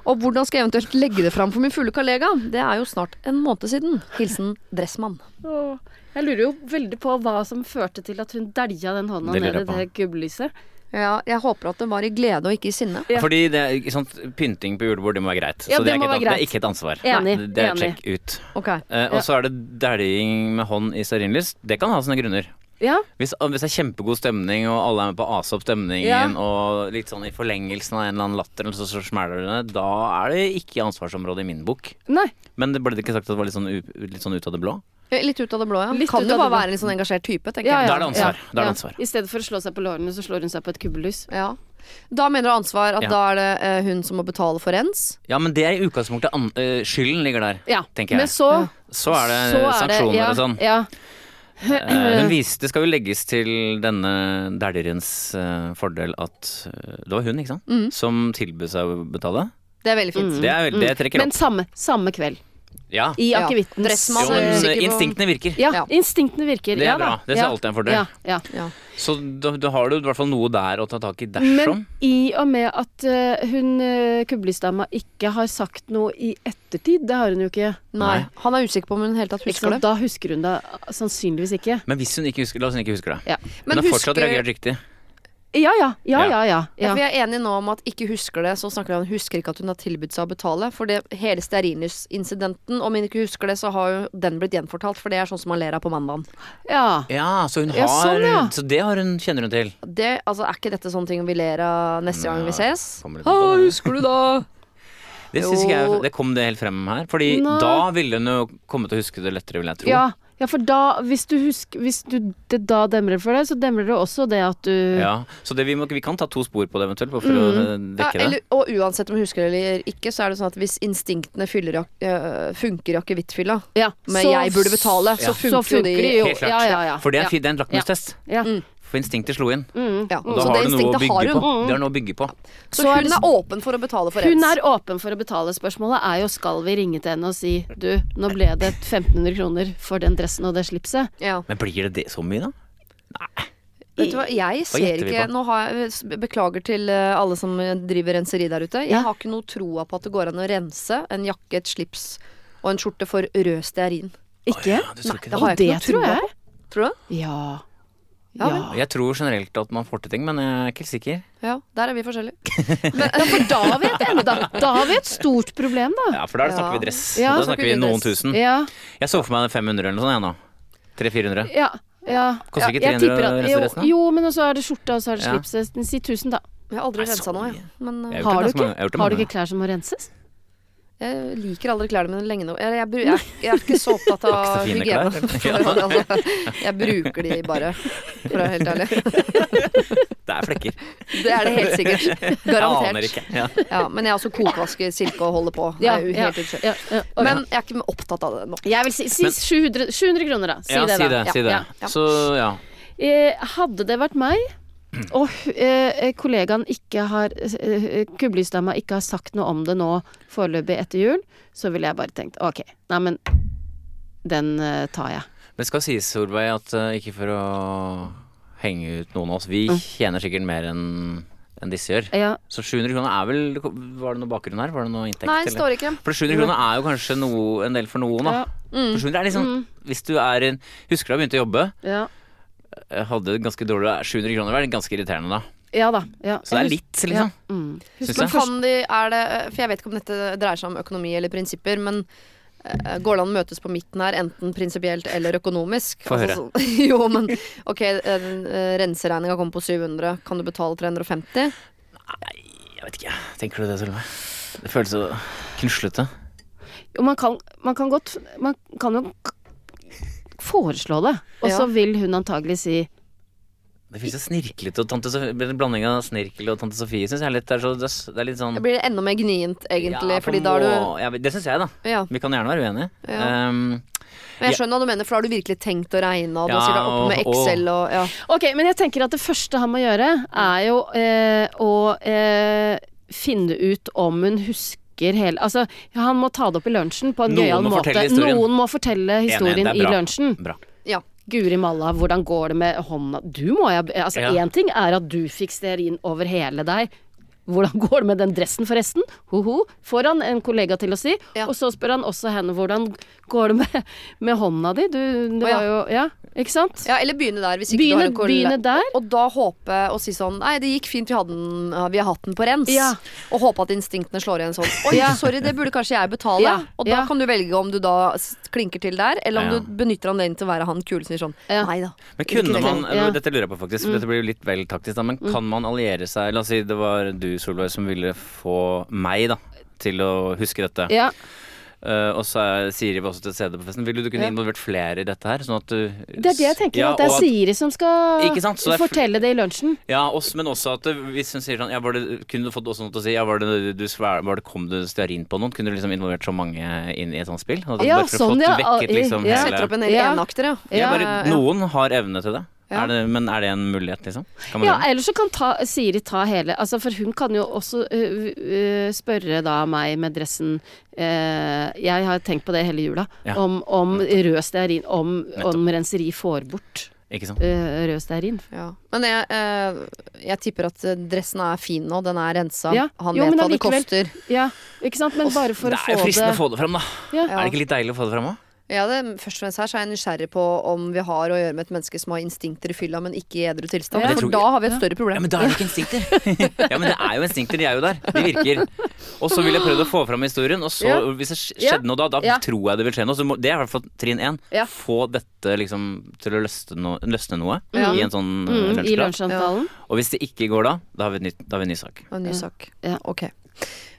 Og hvordan skal jeg eventuelt legge det fram for min fulle kollega? Det er jo snart en måned siden. Hilsen dressmann.
Åh, Jeg lurer jo veldig på hva som førte til at hun dælja den hånda
Det lurer
ned i
jeg på.
det kubbelyset.
Ja, jeg håper at det var i glede og ikke i sinne.
Ja.
Fordi det, er- ikke sant, pynting på julebord, det må være greit.
Ja,
så det,
det
er
må
ikke et,
være
an- det er ikke et ansvar.
Enig,
Det- Det er
enig.
check ut.
Ok.
Eh, og så er det dæljing med hånd i stearinlys. Det kan ha sine grunner.
Ja,
Hvis, ah, hvis det er kjempegod stemning, og alle er med på å ase opp stemningen,
Ja.
og litt sånn i forlengelsen av en eller annen latter, eller så, så smeller det ned, da er det ikke ansvarsområdet i min bok.
nei.
Men det ble det ikke sagt at det var litt sånn, u, litt sånn ut av det blå?
Eh, Litt ut av det blå, ja.
Litt
kan
ut
jo bare
av det blå.
være en litt sånn engasjert type, tenker
Ja,
jeg.
Da
ja,
er det ansvar.
ja,
Da er det
ja.
ansvar.
I stedet for å slå seg på lårene, så slår hun seg på et kubbelys.
Ja. Da mener du ansvar at
Ja.
da er det eh, hun som må betale for rens.
Ja, men det er i utgangspunktet an, eh, skylden ligger der,
Ja,
tenker jeg.
Men så,
Så er det
så er det-
sanksjoner
ja,
og sånn.
Ja.
Eh, Hun viste, det skal jo legges til denne dæljerens eh, fordel at eh, det var hun, ikke sant,
Mm.
som tilbød seg å betale.
Det er veldig fint.
Mm. Det, er, vel- det trekker
Men
opp.
samme, samme kveld.
Ja.
I
Ja.
akevittens
Dressmann
Jo, men
Altså,
eh,
sikker på-
instinktene virker.
ja,
Ja.
instinktene virker.
Det er
ja, da.
bra. Det er
ja.
alltid en fordel.
Ja, ja.
Ja.
Så da, da har du i hvert fall noe der å ta tak i dersom.
Men i og med at eh, hun uh, kubbelysdama ikke har sagt noe i ettertid, det har hun jo ikke.
Nei. Han er usikker på om hun i det hele tatt
Ikke
husker
sant?
det.
Da husker hun det eh, sannsynligvis ikke.
Men hvis hun ikke husker, la oss si hun ikke husker det.
Ja.
Men
Hun har fortsatt
husker-
reagert riktig.
Ja ja, ja ja. ja,
Ja.
ja.
For jeg er enig nå om at ikke husker det, så snakker vi om hun husker ikke at hun har tilbudt seg å betale. For det hele stearinlysincidenten, om hun ikke husker det, så har jo den blitt gjenfortalt. For det er sånn som man ler av på mandagen.
ja.
Ja, så hun har
Ja, sånn, ja.
Så det har hun, kjenner hun til.
Det, altså, er ikke dette sånne ting vi ler av neste gang vi ses?
Kommer litt
Ha,
an på det.
husker du da?
Det, synes ikke
Jo.
jeg, det kom det helt frem her. Fordi
Nei.
da ville hun jo komme til å huske det lettere, vil jeg tro.
Ja, ja, for da, hvis du husker Hvis du, det da demrer for deg, så demrer det også det at du
Ja, Så det, vi, må, vi kan ta to spor på det eventuelt, bare for
Mm.
å eh,
Ja,
dekke
eller, og uansett om hun husker det eller ikke, så er det sånn at hvis instinktene fyller, ak- øh, funker i akevittfylla,
Ja,
men
så-
jeg burde betale,
Ja.
så funker, jo de.
det.
jo.
Helt klart.
Ja, ja, ja.
For det er,
ja.
fi- det er en lakmustest.
Ja.
For instinktet slo inn.
Mm.
Ja,
Og da
så det
har du noe å
instinktet har
bygge
hun.
på. Det er noe å bygge på.
Så,
Så er
hun
det-
er åpen for å betale for
Hun
rens.
er åpen for å betale. Spørsmålet er jo skal vi ringe til henne og si du, nå ble det 1500 kroner for den dressen og det slipset.
Ja.
Men blir det det så mye, da?
Vet du hva, jeg ser
gjetter vi
ikke
på?
Nå har jeg, s- Beklager til eh, alle som driver renseri der ute. Jeg
Ja.
har ikke noe troa på at det går an å rense en jakke, et slips og en skjorte for rød stearin.
Ikke?
Ja, du tror
det
ikke det?
har jeg
Og det
ikke noe
tror
troa
jeg.
på. Tror du det?
Ja.
Ja,
Ja.
Jeg tror generelt at man får til ting, men jeg er ikke helt sikker.
Ja, der er vi forskjellige.
Ja, for da har vi et ende, da. Da har vi et stort problem, da.
Ja, For da
Ja.
snakker vi dress.
Ja,
da snakker vi noen
dress.
tusen.
Ja.
Jeg så for meg 500 eller noe sånt, jeg nå. 300-400.
ja. ja.
Koster ikke
Ja,
300
jeg tipper at-
å rense
jo,
dressen, da?
Jo, men så er det skjorta, og så er det
Ja.
slipset. Si 1000, da.
Jeg har aldri
Nei,
rensa
så
noe,
mye.
jeg. Men eh,
Jeg har
Har
gjort
du
det ganske
ikke,
mange- jeg har gjort det
har du
mange.
ikke klær som må renses?
eh, jeg liker aldri klærne mine lenge nå. Jeg, jeg, bru- jeg, jeg er ikke så opptatt av
fine
hygiene.
klær.
Altså, jeg bruker de bare, for å være helt ærlig.
Det er flekker.
Det er det helt sikkert.
Jeg aner
Garantert.
ikke. Ja.
Ja, men jeg er også kokvasker silke og holder på. Det er jo helt utskjelt.
ja, ja. Ok.
Men jeg er ikke opptatt av det nå.
jeg vil si, si 700, 700 kroner, da. Si
ja,
det,
si
da.
det. Si det.
Ja,
ja.
Så ja.
Eh, hadde det vært meg, og eh, kollegaen ikke har eh, Kublestama ikke har sagt noe om det nå foreløpig etter jul, så ville jeg bare tenkt ok, nei men den eh, tar jeg.
Men det skal sies, Solveig, at eh, ikke for å henge ut noen av oss Vi tjener sikkert mer enn enn disse gjør.
Ja,
Så 700 kroner er vel Var det noe bakgrunn her? Var det noe inntekt?
Nei,
eller?
står Mm. ikke.
For 700 kroner er jo kanskje noe, en del for noen, da.
Ja.
For 700 er liksom Hvis du er en Husker du da jeg begynte å jobbe,
ja,
eh, hadde det ganske dårlig 700 kroner var ganske irriterende da.
ja da. Ja.
Så det er litt, liksom.
Mm.
Synes
Men
jeg.
kan de, er det, for jeg vet ikke om dette dreier seg om økonomi eller prinsipper, men eh, går det an å møtes på midten her, enten prinsipielt eller økonomisk?
Få høre.
Altså, sånn- jo, men ok, uh, renseregninga kommer på 700, kan du betale 350?
Jeg vet ikke. Tenker du det, Solveig? Det føles så knuslete.
Og man kan, man kan godt Man kan jo k- foreslå det, og
Ja.
så vil hun antagelig si
Det føles så snirklete. Og tante Sofie, blanding av snirkel og tante Sofie syns jeg er litt det er, så, det er- det er litt sånn
Det blir enda mer gnient, egentlig,
Ja, på
fordi da er du
må- ja, Det syns jeg, da.
ja.
Vi kan gjerne være uenige.
Ja.
Um,
Men jeg skjønner hva du mener, for da har du virkelig tenkt å regne, og da
Ja,
sier du opp med
og- og-
Excel og ja.
Ok, men jeg tenker at det første han må gjøre er jo eh, å eh, finne ut om hun husker hele Altså, han må ta det opp i lunsjen på en
Noen
gøyal
må
måte.
fortelle historien.
Noen må fortelle
Enig,
historien
det er bra.
i lunsjen.
bra.
ja.
Guri malla, hvordan går det med hånda Du må ja Altså,
Ja.
én ting er at du fikk stearin over hele deg. Hvordan går det med den dressen, forresten? Ho-ho. Får han en kollega til å si.
Ja.
Og så spør han også henne hvordan går det med, med hånda di. Du, det
Å, ja.
var jo Ja, ikke sant?
Ja, eller begynne der, hvis ikke
Begynne-
du har en kolle.
begynne der.
Og, og da håpe og si sånn Nei, det gikk fint, vi, hadde den, ja, vi har hatt den på rens.
Ja.
Og håpe at instinktene slår igjen sånn. Oi,
Ja.
sorry, det burde kanskje jeg betale.
Ja,
Og da
ja.
kan du velge om du da s- klinker til der, eller om
Ja.
du benytter anledningen til å være han kule som sier sånn
Ja.
Nei da.
Men kunne
Ikke
man
sant, ja. Mm.
Dette lurer jeg på, faktisk. for Dette blir jo litt vel taktisk, da. Men kan man alliere seg La oss si det var du, Solveig, som ville få meg, da. Til å huske dette.
Ja.
Eh, og så er Siri var også til stede på festen. Ville du kunne
Ja.
involvert flere i dette her? Sånn at du
Det er det jeg tenker,
Ja,
at det er
og
Siri som skal
Ikke sant, så det er fl-
fortelle det i lunsjen.
Ja, også, men også at det- hvis hun sier sånn ja, var det, Kunne du fått også noe til å si ja, var det, du, sver- var det, Kom det stearin på noen? Kunne du liksom involvert så mange inn i et sånt spill? Altså,
Ja,
bare for å fått
sånn, ja.
vekket liksom
Ja.
hele
Setter opp en hel
Ja.
enakter, ja.
ja, bare,
ja.
Noen har evne til det.
Ja.
Er det. Men er det en mulighet, liksom? Kan man
Ja,
gjøre det?
Eller så kan ta, Siri ta hele altså For hun kan jo også øh, øh, spørre da meg med dressen øh, Jeg har tenkt på det hele jula.
Ja.
Om, om rød stearin Om,
Nettopp.
om renseri får bort
Ikke sant?
øh, rød stearin.
Ja. Men jeg, eh, jeg tipper at eh, dressen er fin nå. Den er rensa.
Ja.
Han
Jo,
vet
men
hva det
allikevel.
koster.
Ja, ikke sant? Men bare for
det
å
er jo
få
fristende
det
å få det fram, da.
Ja.
Er det ikke litt deilig å få det fram òg?
Ja, det, først og fremst her så er jeg nysgjerrig på om vi har å gjøre med et menneske som har instinkter i fylla, men ikke i edru tilstand.
Ja. Det
For
tror jeg-
da har vi et større problem.
Ja, men da er det ikke instinkter. ja, men det er jo instinkter, de er jo der. De virker. Og så vil jeg prøve å få fram historien, og så,
Ja.
hvis det sk-
Ja.
skjedde noe da, da
Ja.
tror jeg det vil skje noe. Så må, det er i hvert fall trinn én.
Ja.
Få dette liksom til å løsne, no, løsne noe
Ja.
i en sånn eh,
mm, I
lunsjprat.
lunsjavtalen.
Og hvis det ikke går da, da har vi, et nytt, da har vi en ny sak.
Og en ny sak.
Ja.
Ok.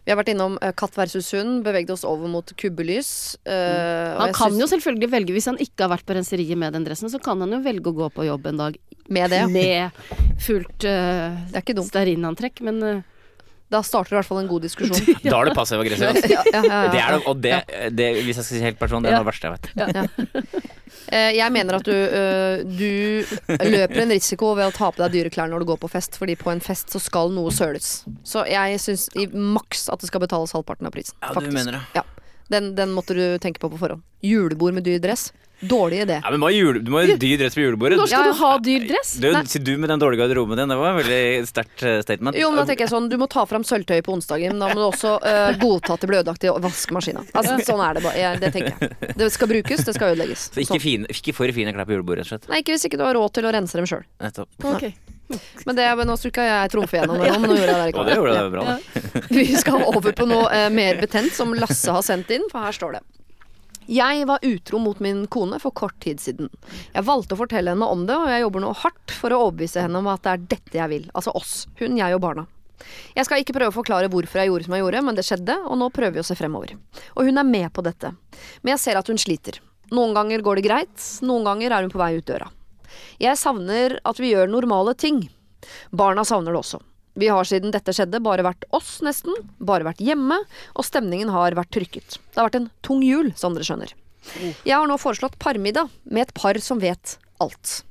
Vi har vært innom eh, katt versus hund, bevegde oss over mot kubbelys.
Mm.
eh, og
Han
jeg
kan
syns-
jo selvfølgelig velge, hvis han ikke har vært på renseriet med den dressen, så kan han jo velge å gå på jobb en dag
Med det.
med fullt uh,
Det er ikke dumt.
stearinantrekk, men eh,
Da starter i hvert fall en god diskusjon.
Da er du passiv aggressiv. altså. ass.
Ja, ja, ja, ja.
Det er det, og det, det, hvis jeg skal si helt personlig, det er noe av det verste jeg vet.
Eh, Jeg mener at du, eh, du løper en risiko ved å ta på deg dyre klær når du går på fest, fordi på en fest så skal noe søles. Så jeg syns i maks at det skal betales halvparten av prisen.
Ja, du
faktisk.
mener det.
Ja. Den, den måtte du tenke på på forhånd. Julebord med dyr dress. Dårlig idé.
Ja, men hva er jule, du må ha dyr dress på julebordet.
Når skal
Ja, ja.
du ha dyr dress?
Du, si du med den dårlige garderoben din, det var et veldig sterkt eh, statement.
Jo, men da tenker jeg sånn, Du må ta fram sølvtøyet på onsdagen, men da må du også eh, godta at det blir ødelagt i vaskemaskina. Altså, sånn er det bare. Jeg- Det tenker jeg. Det skal brukes, det skal ødelegges.
Så ikke,
Sånn.
fine, ikke for fine klær på julebordet, rett og slett.
Nei, ikke hvis ikke du har råd til å rense dem sjøl.
Nettopp.
Ok.
Men det, men nå stryka jeg trumfe gjennom det, men nå gjorde jeg det
Og
likevel.
det gjorde det bra. da.
Vi skal over på noe eh, mer betent som Lasse har sendt inn, for her står det. Jeg var utro mot min kone for kort tid siden. Jeg valgte å fortelle henne om det, og jeg jobber nå hardt for å overbevise henne om at det er dette jeg vil. Altså oss. Hun, jeg og barna. Jeg skal ikke prøve å forklare hvorfor jeg gjorde som jeg gjorde, men det skjedde, og nå prøver vi å se fremover. Og hun er med på dette. Men jeg ser at hun sliter. Noen ganger går det greit, noen ganger er hun på vei ut døra. Jeg savner at vi gjør normale ting. Barna savner det også. Vi har siden dette skjedde bare vært oss, nesten, bare vært hjemme, og stemningen har vært trykket. Det har vært en tung jul, som dere skjønner. Jeg har nå foreslått parmiddag med et par som vet alt.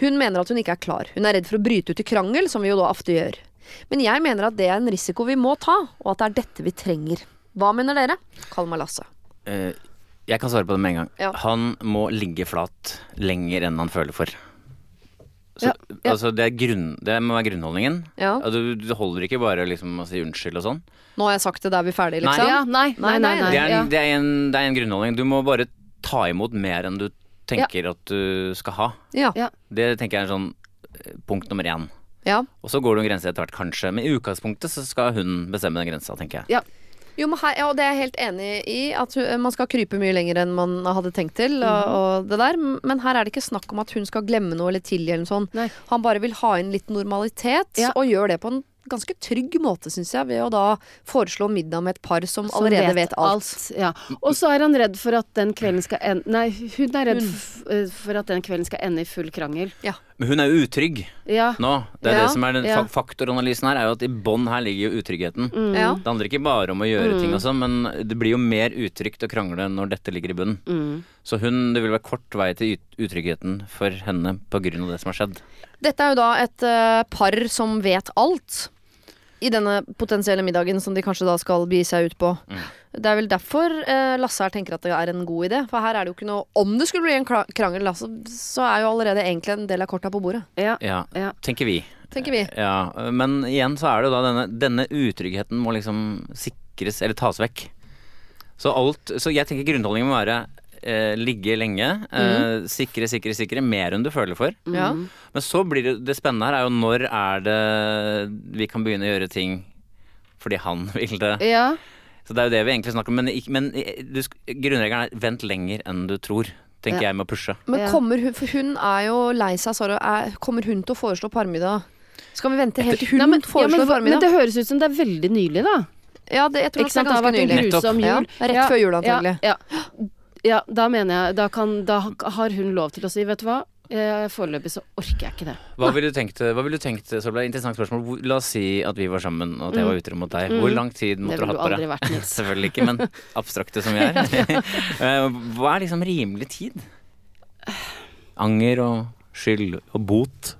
Hun mener at hun ikke er klar. Hun er redd for å bryte ut i krangel, som vi jo da ofte gjør. Men jeg mener at det er en risiko vi må ta, og at det er dette vi trenger. Hva mener dere? Kall meg Lasse.
Eh, Jeg kan svare på det med en gang.
Ja.
Han må ligge flat lenger enn han føler for. Så,
Ja, ja.
Altså, det, er grunn, det må være grunnholdningen.
Ja.
Og Du, du holder ikke bare liksom, å si unnskyld og sånn.
Nå har jeg sagt det, da er vi ferdige,
Nei.
liksom.
Ja, nei, nei, nei. nei,
Det er, en,
ja.
det, er en, det er en grunnholdning. Du må bare ta imot mer enn du tenker at du skal ha.
Ja.
Ja.
Det tenker jeg er sånn eh, punkt nummer én.
ja.
Og så går det en grense etter hvert, kanskje. Men i utgangspunktet så skal hun bestemme den grensa, tenker jeg.
Ja.
Jo, men her, ja, og det er jeg helt enig i. At hu- man skal krype mye lenger enn man hadde tenkt til. Og, og det der. Men her er det ikke snakk om at hun skal glemme noe eller tilgi eller noe sånt.
Nei.
Han bare vil ha inn litt normalitet,
Ja.
og gjør det på en ganske trygg måte, syns jeg. Ved å da foreslå middag med et par som,
Som
allerede vet, alt.
Ja. Og så er han redd for at den kvelden skal ende Nei, hun er redd f- eh, for at den kvelden skal ende i full krangel.
Men hun er jo utrygg
Ja.
nå. Det er
Ja, Mm.
det som er den
ja.
fa- faktoranalysen her, er jo at i bånn her ligger jo utryggheten.
Ja.
Det handler ikke bare om å gjøre ting og sånn, men det blir jo mer utrygt å krangle når dette ligger i bunnen.
Mm.
Så hun, det vil være kort vei til ut- utryggheten for henne på grunn av det som har skjedd.
Dette er jo da et eh, par som vet alt. I denne potensielle middagen som de kanskje da skal begi seg ut på. Det er vel derfor eh, Lasse her tenker at det er en god idé. For her er det jo ikke noe Om det skulle bli en kla- krangel, Lasse, så er jo allerede egentlig en del av korta på bordet.
Ja.
Ja,
Ja.
tenker vi.
Tenker vi.
Ja, men igjen så er det jo da denne, denne utryggheten må liksom sikres, eller tas vekk. Så alt, så jeg tenker grunnholdningen må være eh, ligge lenge, eh, sikre, sikre, sikre, mer enn du føler for.
Mm.
Ja.
Men så blir det, det spennende her er jo når er det vi kan begynne å gjøre ting fordi han vil det.
ja.
Så det er jo det vi egentlig snakker om. Men, ikk- men eh, du, sk- grunnregelen er vent lenger enn du tror, tenker jeg med å pushe.
Men
Ja.
kommer hun For hun er jo lei seg, Sara. Er- Kommer hun til å foreslå parmiddag? Skal vi vente helt til hun
Nei, men, ja,
foreslår
men, men
parmiddag?
det høres ut som det er veldig nylig, da.
ja, det, jeg tror
Ikke
nok det er
sant? Det har
ganske
vært en
nylig.
grusom
Ja,
jul.
rett før jul, antagelig.
Ja, ja. ja, da mener jeg Da, kan, da har hun lov til å si, vet du hva, eh, foreløpig så orker jeg ikke det.
Hva ville du tenkt, hva ville du tenkt Solveig? Interessant spørsmål. Hvor- La oss si at vi var sammen, og at jeg var utro mot deg. Hvor lang tid måtte du
Mm. Det ville
hatt
du
på
aldri
deg?
vært, Nils.
Selvfølgelig ikke, men abstrakte som vi er. Eh, Hva er liksom rimelig tid? Anger og skyld og bot.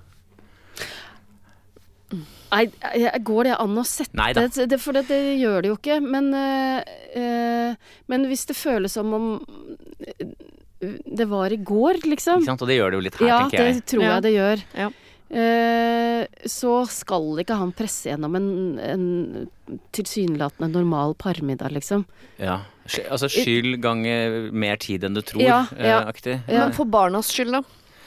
Nei, jeg- går det an å sette
Nei da.
det, det, For det, det gjør det jo ikke. Men, eh, eh, men hvis det føles som om eh, det var i går, liksom.
Ikke sant? Og det gjør det jo litt her,
Ja,
tenker jeg.
det tror
Ja.
jeg det gjør.
Ja.
Eh, så skal ikke han presse gjennom en, en tilsynelatende normal parmiddag, liksom.
Ja. Sky- Altså skyld ganger mer tid enn du tror,
Ja,
eh,
ja.
aktig.
Ja.
Men for barnas skyld, da.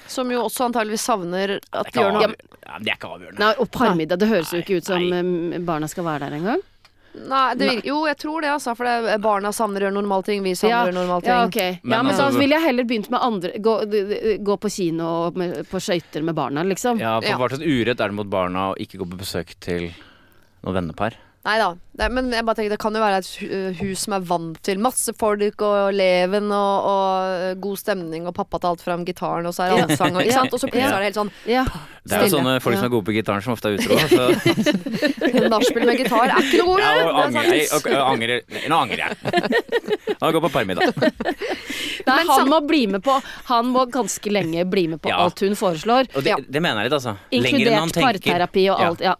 Som jo også antageligvis savner at
Det
de
er
gjør
ikke
noe.
avgjørende. Ja, men det er ikke avgjørende.
Nei, og parmiddag, det høres jo
Nei,
ikke ut som
nei.
em, barna skal være der engang.
Nei, det virker, jo, jeg tror det, altså. For det, er- barna savner å gjøre normale ting. Vi savner å
Ja,
gjøre normale ting.
ja, ok.
Men
ja, men
altså-
da ville jeg heller begynt med andre Gå, d- d- gå på kino og med, på skøyter med barna, liksom.
Ja, for
Ja.
hva slags urett er det mot barna å ikke gå på besøk til noen vennepar?
Nei da. Det, men jeg bare tenker, det kan jo være et hu- hus som er vant til masse folk og leven og, og god stemning, og pappa tar alt fram gitaren, og så er det allsang, og, ikke
Ja.
sant? Og så plutselig
Ja.
er det helt sånn
Ja.
Det er jo
Stille.
sånne folk som er gode på gitaren, som ofte er utro. Så
Nachspiel med gitar er ikke noe god
jeg
idé!
angrer, jeg, og- og angrer. Nå angrer jeg. Nå går jeg på parmiddag.
Nei,
Men
han
sam-
må bli med på Han må ganske lenge bli med på
Ja.
alt hun foreslår.
Og det, det mener jeg litt, altså. Lenger enn han
Inkludert
tenker.
parterapi og
Ja.
alt. Ja.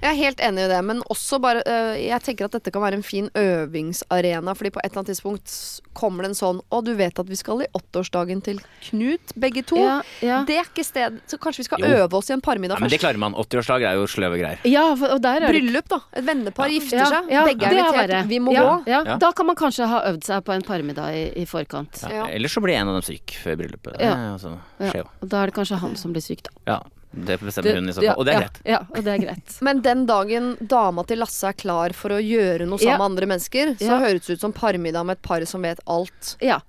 Jeg er helt enig i det, men også bare øh, Jeg tenker at dette kan være en fin øvingsarena, fordi på et eller annet tidspunkt s- kommer det en sånn Å, du vet at vi skal i åtteårsdagen til Knut, begge to.
Ja, ja.
Det er ikke sted Så kanskje vi skal
Jo.
øve oss i en
Nei,
parmiddag
men det
først.
klarer man. 80-årslag er jo sløve greier.
ja, for- og der er det
Bryllup, da. Et vennepar gifter
ja,
seg.
ja,
Begge er
det
invitert.
verre.
Vi må
ja,
gå.
Ja.
Ja.
Da kan man kanskje ha øvd seg på en parmiddag i, i forkant.
Ja.
Ellers så blir en av dem syk før bryllupet. Det,
Ja.
er altså,
Ja.
skjer jo.
Og da er det kanskje han som blir syk, da.
Ja, det bestemmer hun i så
Ja,
fall. Og det er
ja,
greit.
Ja, og det er greit.
Men den dagen dama til Lasse er klar for å gjøre noe sammen
Ja.
med andre mennesker, så
Ja.
høres det ut som parmiddag med et par som vet alt,
Ja.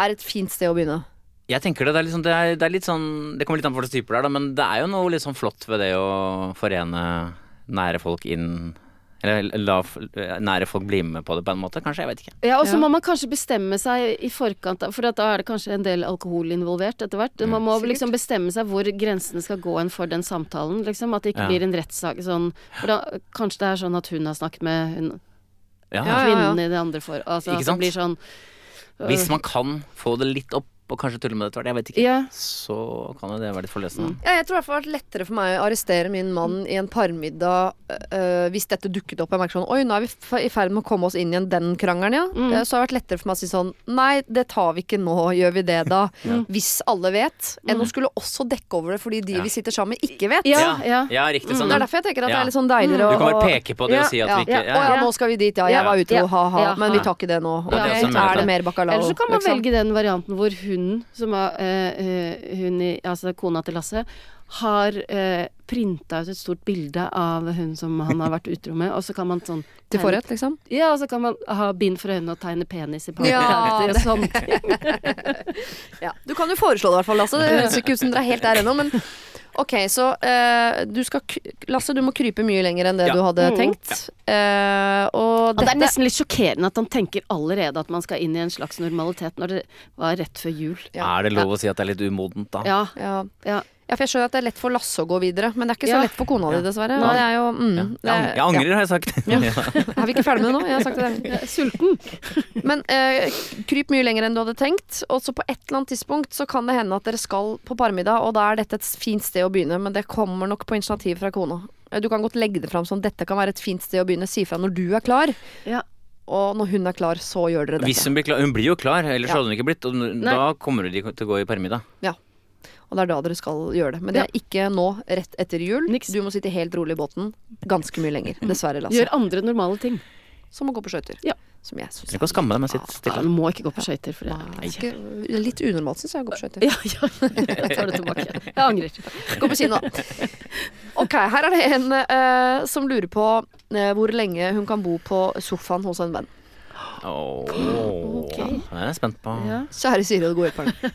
er et fint sted å begynne.
Jeg tenker det, det, er litt sånn, det, er, det er litt sånn Det kommer litt an på hva slags type det er, da, men det er jo noe litt sånn flott ved det å forene nære folk inn Eller la f- nære folk bli med på det på en måte, kanskje. Jeg vet ikke.
Ja, og så
Ja.
må man kanskje bestemme seg i forkant, da, for at da er det kanskje en del alkohol involvert etter hvert. Man må
Mm. Sikkert.
liksom bestemme seg hvor grensene skal gå en for den samtalen, liksom. At det ikke
Ja.
blir en rettssak sånn. For da, kanskje det er sånn at hun har snakket med hun,
Ja, ja, ja.
kvinnen i det andre for altså,
Ikke
at
sant?
Det blir sånn øh,
Hvis man kan få det litt opp, og kanskje tulle med det etter hvert, jeg vet ikke,
Ja.
så kan jo det være litt forløsende.
Ja, jeg tror i hvert fall det har vært lettere for meg å arrestere min mann i en parmiddag øh, hvis dette dukket opp. Jeg merker sånn Oi, nå er vi f- i ferd med å komme oss inn igjen den krangelen, ja. Eh, Så har det vært lettere for meg å si sånn Nei, det tar vi ikke nå. Gjør vi det da? Hvis alle vet. Enn å skulle også dekke over det fordi de
Ja.
vi sitter sammen med, ikke vet.
Ja, ja.
riktig sånn.
Mm. Det er derfor jeg tenker at det
Ja.
er litt sånn deiligere
Du
å
kan bare peke på det og
Ja,
si at
ja.
vi ikke
Å
ja.
ja,
Ja.
nå skal vi dit. Ja, jeg
Ja.
var utro,
Ja.
ha-ha.
Ja.
Men vi tar ikke det nå.
Ja,
Ok,
det er også
Er det
mulig.
mer bacalao?
Eller så kan man
liksom?
velge den varianten hvor hun, som er eh, eh, hun i, altså kona til Lasse, har eh, printa ut et stort bilde av hun som han har vært utro med, og så kan man sånn
Til
tegne-
forrett, liksom?
Ja, og så kan man ha bind for øynene og tegne penis i
Ja,
partykarakter og
det-
sånne ting.
Ja. Du kan jo foreslå det i hvert fall, Lasse. Det høres ikke ut som dere er helt der ennå, men OK, så eh, du skal k Lasse, du må krype mye lenger enn det
Ja.
du hadde
Mm.
tenkt. Eh, og
Og det er
dette
nesten litt sjokkerende at han tenker allerede at man skal inn i en slags normalitet når det var rett før jul.
Ja.
Er det lov å si at det er litt umodent, da?
Ja,
ja.
ja.
ja, for jeg skjønner at det er lett for Lasse å gå videre, men det er ikke så
Ja.
lett for kona di, dessverre.
Nei.
Og det er jo mm,
Ja.
det er-
Jeg angrer, har jeg sagt. Ja.
Ja. Er vi ikke ferdig med det nå? Jeg har sagt det.
Jeg er Sulten.
Men eh, kryp mye lenger enn du hadde tenkt. Og så på et eller annet tidspunkt så kan det hende at dere skal på parmiddag, og da er dette et fint sted å begynne, men det kommer nok på initiativ fra kona. Eh, Du kan godt legge det fram som dette kan være et fint sted å begynne. Si fra når du er klar,
Ja.
og når hun er klar, så gjør dere
Hvis
dette.
hun blir klar, hun blir jo klar, ellers
Ja.
hadde hun ikke blitt. Og n-
Nei.
da kommer de til å gå i permiddag.
Og det er da dere skal gjøre det. Men det er ikke nå, rett etter jul.
Niks. Mm.
Du må sitte helt rolig i båten ganske mye lenger. Dessverre, Lasse.
Gjør andre normale ting.
Som å gå på skøyter.
Ja.
Som jeg syns
Trenger ikke å skamme deg, men sitt
Ja,
stille.
du må ikke gå på skøyter, for det er
er ganske- litt unormalt, syns jeg, å gå på skøyter.
Ja, ja. Jeg tar det tilbake. Jeg angrer.
Gå på kino. Ok, her er det en eh, som lurer på eh, hvor lenge hun kan bo på sofaen hos en venn.
Åh.
Ok.
Det er jeg spent på.
Ja.
Kjære Siri og de gode hjelperne.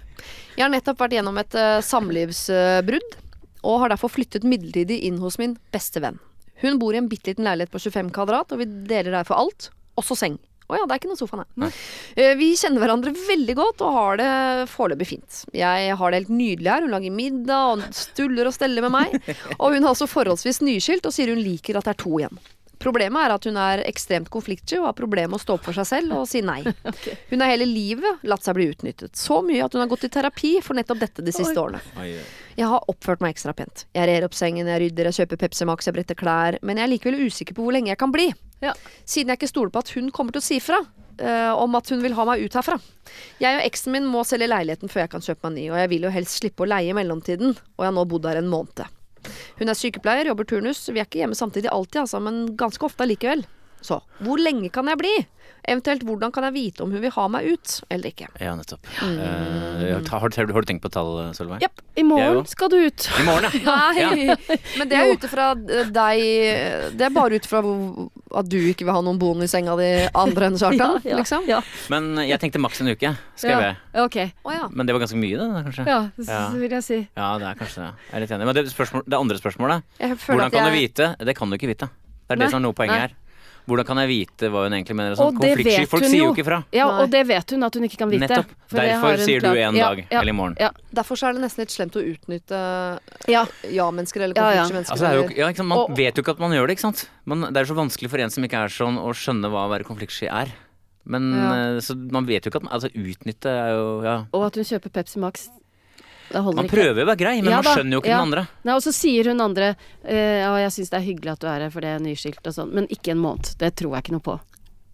Jeg har nettopp vært gjennom et eh, samlivsbrudd, og har derfor flyttet midlertidig inn hos min beste venn. Hun bor i en bitte liten leilighet på 25 kvadrat, og vi deler der for alt, også seng. Å ja, det er ikke noe sofa, nei. Eh, Vi kjenner hverandre veldig godt og har det foreløpig fint. Jeg har det helt nydelig her, hun lager middag og stuller og steller med meg. Og hun er også forholdsvis nyskilt og sier hun liker at det er to igjen. Problemet er at hun er ekstremt konfliktsky og har problemer med å stå opp for seg selv og si nei. Hun har hele livet latt seg bli utnyttet. Så mye at hun har gått i terapi for nettopp dette de siste årene.
Oi, oi.
Jeg har oppført meg ekstra pent. Jeg rer opp sengen, jeg rydder, jeg kjøper Pepsi Max, jeg bretter klær. Men jeg er likevel usikker på hvor lenge jeg kan bli.
Ja.
Siden jeg ikke stoler på at hun kommer til å si fra eh, om at hun vil ha meg ut herfra. Jeg og eksen min må selge leiligheten før jeg kan kjøpe meg ny, og jeg vil jo helst slippe å leie i mellomtiden, og jeg har nå bodd her en måned. Hun er sykepleier, jobber turnus. Vi er ikke hjemme samtidig alltid, altså, men ganske ofte allikevel. Så hvor lenge kan jeg bli? Eventuelt hvordan kan jeg vite om hun vil ha meg ut eller ikke?
Ja, nettopp. Eh, har, har, du- har du tenkt på tall, Solveig?
Japp, i
Jeg
morgen
òg.
skal du ut.
I morgen, ja.
Nei, men det er
Jo.
ut ifra eh, deg eh, Det er bare ut fra hvor- at du ikke vil ha noen boende i senga di andre enn Kjartan,
ja,
liksom?
Ja.
Men jeg tenkte maks en uke, skrev
ja.
jeg.
Ok.
Å ja.
Men det var ganske mye, det, kanskje?
Ja, så
Ja.
så vil jeg si.
Ja, det er kanskje det. Jeg er litt enig. Men det, spørsmål, det andre spørsmålet,
Jeg føler
hvordan
at
kan du
jeg-
vite? Det kan du ikke vite. Det er
Nei,
det som er noe av
nei.
poenget her. Hvordan kan jeg vite hva hun egentlig mener? og Sånn.
Og det
Konfliktsky.
vet
Folk
hun
sier
jo.
jo ikke fra.
Ja,
Nei.
og det vet hun at hun ikke kan vite.
Nettopp.
for det har
Derfor
hun
sier du
klart-
en
Ja,
dag,
ja,
eller i morgen.
Ja.
Derfor så er det nesten litt slemt å utnytte
ja.
ja-mennesker eller
Ja, ja.
konfliktmennesker.
Altså, det er jo, ikke- ja, ikke sant? Man
Og-
vet jo ikke at man gjør det, ikke sant? Men det er så vanskelig for en som ikke er sånn, å skjønne hva å være konfliktsky er. Men
Ja.
eh, så man vet jo ikke at man, altså Utnytte er jo ja.
Og at hun kjøper Pepsi Max. Det holder
Man
ikke.
prøver jo å være grei, men
Ja
man
da,
skjønner jo ikke
ja.
den andre.
Nei, og så sier hun andre eh, Ja, jeg syns det er hyggelig at du er her, for det er nyskilt og sånn, men ikke en måned. Det tror jeg ikke noe på.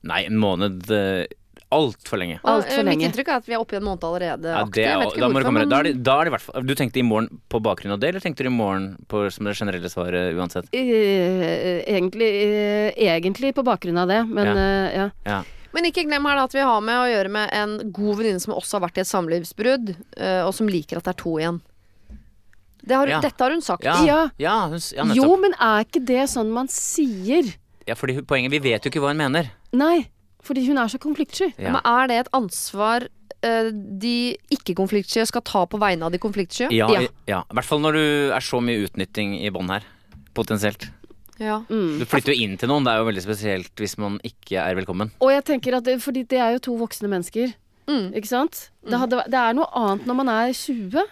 Nei, en måned eh, Altfor lenge.
Og,
Alt for
eh, Mitt
lenge.
inntrykk er at vi er oppe i en måned allerede.
Ja,
aktig.
det,
Jeg
er-
vet ikke
da må du
hvorfor,
komme
men-
da er det, da er det i hvert fall Du tenkte i morgen på bakgrunn av det, eller tenkte du i morgen på, som det generelle svaret uansett?
Eh, egentlig, eh, egentlig på bakgrunn av det, men
Ja.
eh, ja.
Ja.
Men ikke glem her da at vi har med å gjøre med en god venninne som også har vært i et samlivsbrudd, eh, og som liker at det er to igjen. Det har,
Ja.
Dette har hun sagt.
Ja,
Ja.
ja, hun, s- ja
jo,
nettopp.
men er ikke det sånn man sier?
Ja, fordi poenget Vi vet jo ikke hva hun mener.
Nei, fordi hun er så konfliktsky.
Ja.
Men er det et ansvar eh, de ikke-konfliktsky skal ta på vegne av de konfliktsky?
Ja,
Ja.
i- ja. I hvert fall når du er så mye utnytting i bånd her. Potensielt.
Ja.
Du flytter jo inn til noen, det er jo veldig spesielt hvis man ikke er velkommen.
Og jeg tenker at det, Fordi det er jo to voksne mennesker.
Mm.
Ikke sant? Det, hadde, vært- det er noe annet når man er 20.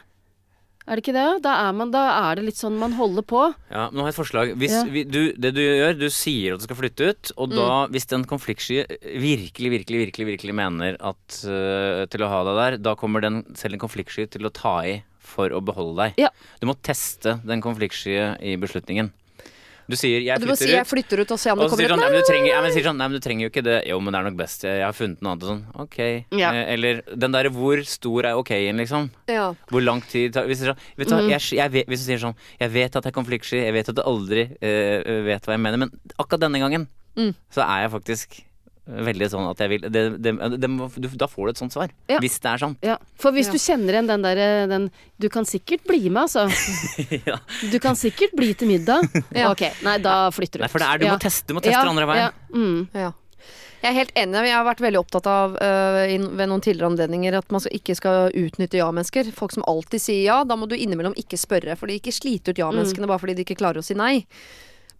Er det ikke det? Da er, man, da er det litt sånn man holder på.
Ja, men nå har jeg et forslag. Hvis
Ja.
vi, du, det du gjør, du sier at du skal flytte ut, og da,
Mm.
hvis den konfliktsky virkelig, virkelig, virkelig virkelig mener at øh, til å ha deg der, da kommer den, selv en konfliktsky til å ta i for å beholde deg.
Ja.
Du må teste den konfliktskye i beslutningen. Du sier 'jeg
Du må si
flytter
'jeg
ut'.
flytter ut' og se om det
Og så
kommer
sier
et
sånn,
nei.
nei, men du trenger, ja, men sier sånn, nei, men du trenger jo ikke det. Jo, men det er nok best. Jeg har funnet noe annet. og Sånn, ok.
Ja.
Eh, Eller den derre 'hvor stor er ok-en', liksom.
Ja.
Hvor lang tid tar Hvis du, sier sånn, vet du, hva, jeg, jeg, vet- hvis du sier sånn Jeg vet at jeg er konfliktsky, jeg vet at du aldri eh, vet hva jeg mener, men akkurat denne gangen
Mm.
så er jeg faktisk veldig sånn at jeg vil det, det, det, må- du, Da får du et sånt svar.
Ja.
Hvis det er sånn.
Ja, For hvis
Ja.
du kjenner igjen den derre den Du kan sikkert bli med, altså.
Ja.
Du kan sikkert bli til middag.
Ja.
Ok, nei, da flytter du
Nei,
ut.
for det er, du,
ja.
må teste, du må teste
Ja,
andre veien.
Ja. Mm.
Ja. Jeg er helt enig. Jeg har vært veldig opptatt av øh, inn- ved noen tidligere anledninger at man skal- ikke skal utnytte ja-mennesker. Folk som alltid sier ja, da må du innimellom ikke spørre. For de ikke sliter ut ja-menneskene bare fordi de ikke klarer å si nei.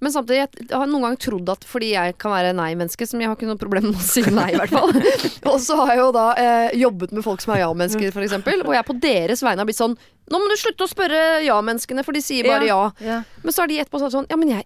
Men samtidig, jeg har noen gang trodd at fordi jeg kan være nei-menneske, som jeg har ikke noe problem med å si nei, i hvert fall. og så har jeg jo da eh, jobbet med folk som er ja-mennesker, f.eks. Og jeg på deres vegne har blitt sånn Nå må du slutte å spørre ja-menneskene, for de sier bare ja.
Ja.
Men så er de etterpå sånn, sånn Ja, men jeg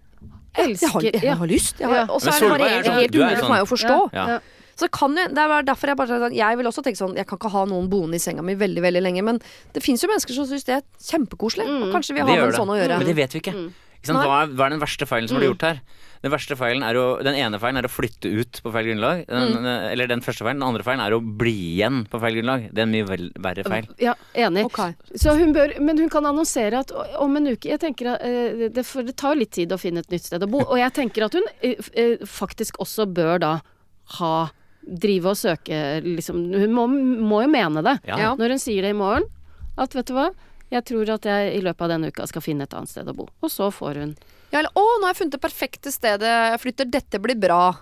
jeg har,
Elsker
jeg har lyst. Jeg har,
Ja.
Og så
Men
er det
Solveig
bare
er sånn,
helt
du er
umulig
sånn.
for meg å forstå.
Ja.
Ja.
Så kan jo, det er derfor jeg bare sier sånn, Jeg vil også tenke sånn Jeg kan ikke ha noen boende i senga mi veldig veldig lenge. Men det fins jo mennesker som syns det er kjempekoselig. Og kanskje vi
Det
har
gjør
med en
det.
sånn å gjøre.
Men det vet vi ikke. ikke sant?
Nei.
Hva, er, hva er den verste feilen som ble gjort her? Den, verste feilen er å, den ene feilen er å flytte ut på feil grunnlag. Den, Eller den første feilen. Den andre feilen er å bli igjen på feil grunnlag. Det er en mye vel, verre feil.
Ja, enig.
Ok.
Så hun bør, men hun kan annonsere at o- om en uke Jeg tenker at eh, det, For det tar jo litt tid å finne et nytt sted å bo. Og jeg tenker at hun eh, f- eh, faktisk også bør da ha Drive og søke, liksom. Hun må, må jo mene det.
Ja.
Ja.
Når hun sier det i morgen at vet du hva, jeg tror at jeg i løpet av denne uka skal finne et annet sted å bo. Og så får hun
Ja, eller 'Å, nå har jeg funnet det perfekte stedet jeg flytter. Dette blir bra'.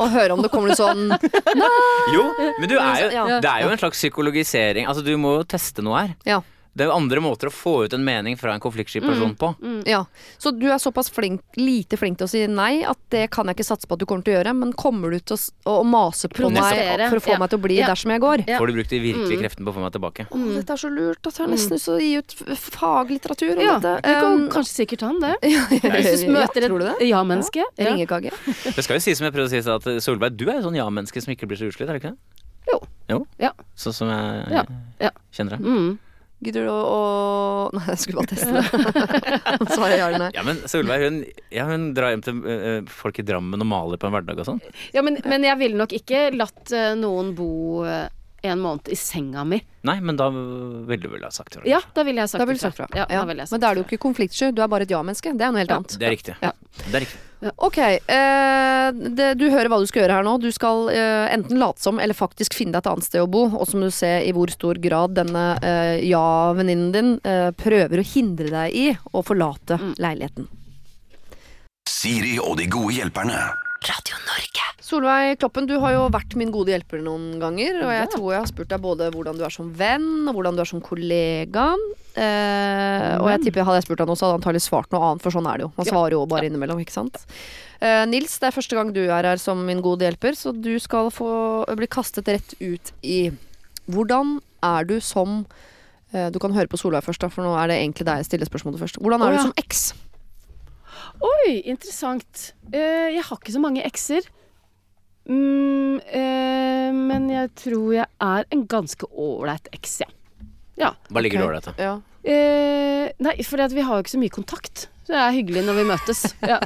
Og høre om det kommer litt sånn
Jo, men du er jo,
Ja.
det er jo en slags psykologisering. Altså, du må jo teste noe her.
Ja.
Det er jo andre måter å få ut en mening fra en konfliktsky person på.
ja. Så du er såpass flink, lite flink til å si nei at det kan jeg ikke satse på at du kommer til å gjøre, men kommer du til å, s- å mase på meg
Protestere.
for å få
Ja.
meg til å bli
Ja.
dersom jeg går?
Ja.
Får du brukt de virkelige kreftene på å få meg
Å,
tilbake?
Mm.
dette er så lurt at jeg har nesten lyst til å gi ut f- faglitteratur om
Ja, du
dette.
kan
Um,
kanskje sikkert han det. Hvis
Hvis
du møter
tror du det?
et ja-menneske. Ja.
Ringekake?
Det skal jo sies som jeg prøvde å si i stad, at Solveig, du er jo sånn ja-menneske som ikke blir så utslitt, er du ikke det?
Jo.
Jo?
Ja.
Sånn som jeg
Ja. Ja.
kjenner deg.
Mm.
Gidder du å, å Nei, jeg skulle bare teste det. Svarer ja eller nei.
Ja, men Solveig hun, ja, hun drar hjem til øh, folk i Drammen og maler på en hverdag og sånn.
Ja, men, men jeg ville nok ikke latt eh, noen bo eh, en måned i senga mi.
Nei, men da ville du vel ha sagt det.
Ja, da ville jeg sagt
Da vil du
ifra.
sagt fra.
Ja, da
Ja.
ville jeg
Men
sagt
da er du
ifra.
jo ikke konfliktsky, du er bare et ja-menneske. Det er noe helt annet.
Det er riktig.
Ja.
Det er riktig.
Ok, eh, det, du hører hva du skal gjøre her nå. Du skal eh, enten late som eller faktisk finne deg et annet sted å bo. Og som du ser i hvor stor grad denne eh, ja-venninnen din eh, prøver å hindre deg i å forlate
Mm.
leiligheten.
Siri og de gode hjelperne.
Radio Norge. Solveig Kloppen, du har jo vært min gode hjelper noen ganger. Og jeg tror jeg har spurt deg både hvordan du er som venn, og hvordan du er som kollega. Eh, og
Mm.
jeg tipper hadde jeg spurt deg nå, så hadde han antakelig svart noe annet, for sånn er det jo. Man svarer jo bare innimellom, ikke sant. Eh, Nils, det er første gang du er her som min gode hjelper, så du skal få bli kastet rett ut i Hvordan er du som eh, Du kan høre på Solveig først, da, for nå er det egentlig deg jeg stiller spørsmålet først. Hvordan
Å,
er
ja.
du som eks?
Oi, interessant. Eh, jeg har ikke så mange ekser. Mm, eh, men jeg tror jeg er en ganske ålreit eks, jeg. Ja.
Hva
Ok.
ligger det ålreit i?
Ja.
Eh, nei, for vi har jo ikke så mye kontakt. Så det er hyggelig når vi møtes. Ja.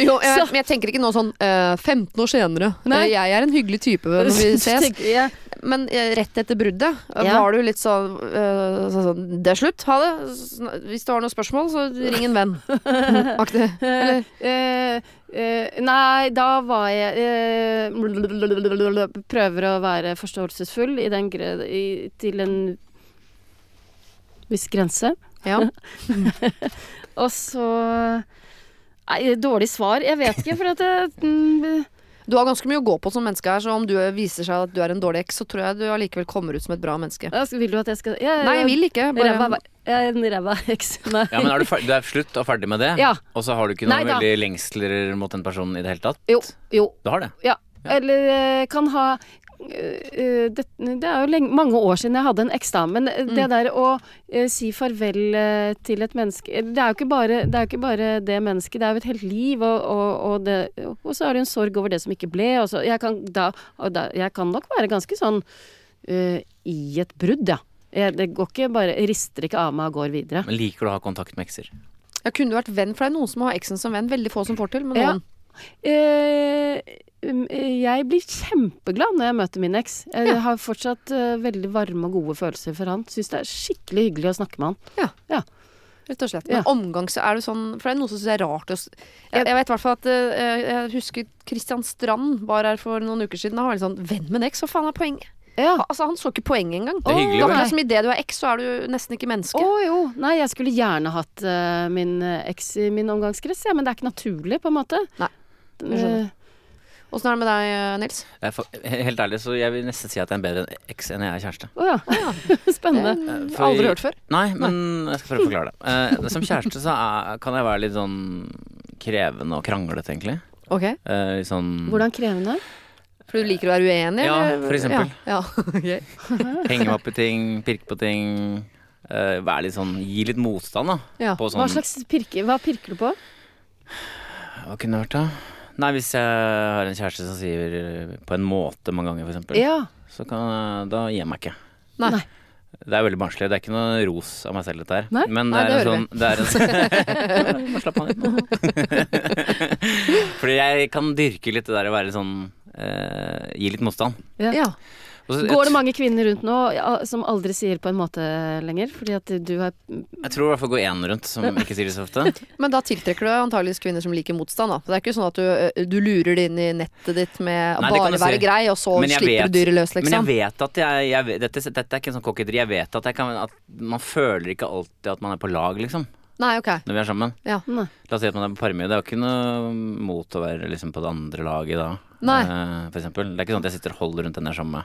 Jo, jeg,
Så-
men jeg tenker ikke nå sånn eh, 15 år senere.
Nei.
Eh, Jeg er en hyggelig type når vi ses.
Tenker jeg,
Men eh, rett etter bruddet eh,
Ja.
var du litt sånn, eh, sånn sånn, Det er slutt, ha det. Sn- Hvis du har noen spørsmål, så ring en venn. Aktig. Eller?
Eh, eh, nei, da var jeg eh, blablabla, Prøver å være forståelsesfull i den gre- i, til en viss grense.
Ja.
Og så Nei, dårlig svar. Jeg vet ikke, for at det, mm,
Du har ganske mye å gå på som menneske her, så om du eh, viser seg at du er en dårlig eks, så tror jeg du allikevel kommer ut som et bra menneske.
jeg skal- Vil du at jeg skal jeg,
Nei, jeg vil ikke.
Ræva
Bare,
Jeg er en ræva heks. Nei.
Ja, men er du, fer- du er slutt og ferdig med det?
Ja.
Og så har du ikke noen
Nei da.
veldig lengsler mot den personen i det hele tatt?
Jo. jo.
Du har det?
Ja.
Ja.
Eller eh, kan ha eh, det, det er jo lenge, mange år siden jeg hadde en eks, da. Men eh, det der å eh, si farvel eh, til et menneske Det er jo ikke bare det, er jo ikke bare det mennesket, det er jo et helt liv. Og, og, og, det, og så er det jo en sorg over det som ikke ble. Og så, jeg, kan da, og da, jeg kan nok være ganske sånn eh, i et brudd, ja. Jeg, det går ikke bare Rister ikke av meg og går videre.
Men liker du å ha kontakt med ekser?
jeg kunne du vært venn, for det er noen som har eksen som venn. Veldig få som får til, men
Ja.
noen.
Eh, um, eh, jeg blir kjempeglad når jeg møter min eks. Jeg har fortsatt eh, veldig varme og gode følelser for han. Syns det er skikkelig hyggelig å snakke med han.
Rett og slett. Men
Ja.
omgang, så er det sånn For det er noe som syns er rart. å s- Jeg, jeg vet i hvert fall at eh, Jeg husker Christian Strand var her for noen uker siden. Han var litt sånn Venn med en eks, hva faen er poenget?
Ja.
Altså, han så ikke poenget engang.
Det er hyggelig,
Det er
vel?
akkurat som idet du er eks, så er du nesten ikke
Å
menneske.
jo. Nei, jeg skulle gjerne hatt eh, min eh, eks i min omgangskrets, ja, men det er ikke naturlig, på en måte. Eh,
Nei. Jeg skjønner. Åssen er det med deg, eh, Nils?
Jeg er fa- Helt ærlig, så jeg vil nesten si at jeg er bedre enn eks enn jeg er kjæreste.
Å ja. Spennende.
Eh,
for-
Aldri hørt før.
Nei, men jeg skal prøve å forklare det. Eh, som kjæreste så er, kan jeg være litt sånn krevende og kranglete, egentlig.
Ok,
Eh, litt sånn
Hvordan krevende?
For du liker å være uenig?
Ja,
eller?
for eksempel.
Ja, ja. ok.
henge meg opp i ting, pirke på ting. eh, være litt sånn Gi litt motstand, da.
Ja.
På sånn
Hva slags pirke? Hva pirker du på?
Hva kunne det vært, da? Nei, hvis jeg har en kjæreste som sier eh, 'på en måte' mange ganger, for eksempel,
Ja.
så kan jeg Da gir jeg meg ikke.
Nei.
Nei.
Det er veldig barnslig. Det er ikke noe ros av meg selv, dette her.
Nei.
Men det
Nei,
er
det
en sånn det er en, Bare Slapp av litt nå. Fordi jeg kan dyrke litt det der å være sånn eh, Gi litt motstand.
Ja.
Og så-
Går det mange kvinner rundt nå ja, som aldri sier 'på en måte' lenger? Fordi at du har
Jeg tror i hvert fall går én rundt, som ikke sier det så ofte.
Men da tiltrekker du antageligvis kvinner som liker motstand. Da. Det er ikke sånn at du, eh, du lurer det inn i nettet ditt med å
Nei, det kan
bare
du
være
si.
grei, og så
Men jeg
slipper
vet-
du dyret løs,
Men jeg
liksom.
vet at jeg, jeg vet, dette, dette er ikke en sånn kokkedri. Jeg vet at, jeg kan, at man føler ikke alltid at man er på lag, liksom,
Nei, ok.
når vi er sammen.
Ja.
Nei.
La oss si at man er på parmiddag. Det er jo ikke noe mot å være liksom, på det andre laget da,
Nei.
eh, for eksempel. Det er ikke sånn at jeg sitter og holder rundt den jeg er sammen med,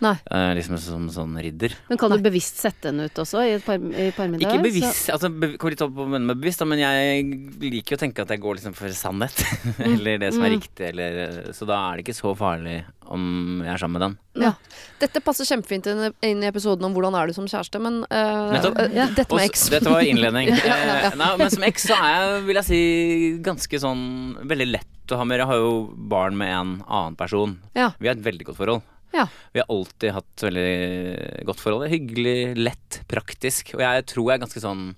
Nei.
eh, liksom som sånn ridder.
Men kan du bevisst sette henne ut også i et par, i parmiddag?
Ikke bevisst, altså be, kommer litt opp på med bevisst, da, men jeg liker jo å tenke at jeg går liksom for sannhet. eller det som er riktig, eller Så da er det ikke så farlig om jeg er sammen med den.
Ja. Mm. Dette passer kjempefint inn i- inn i episoden om hvordan er du som kjæreste, men eh,
Nettopp.
eh, dette med
Og
eks.
s- Dette var innledning.
Ja, ja, ja.
Eh, Nei, men som eks så er jeg, vil jeg si, ganske sånn veldig lett å ha med. Jeg har jo barn med en annen person.
Ja.
Vi har et veldig godt forhold.
Ja.
Vi har alltid hatt veldig godt forhold. Det er Hyggelig, lett, praktisk. Og jeg tror jeg er ganske sånn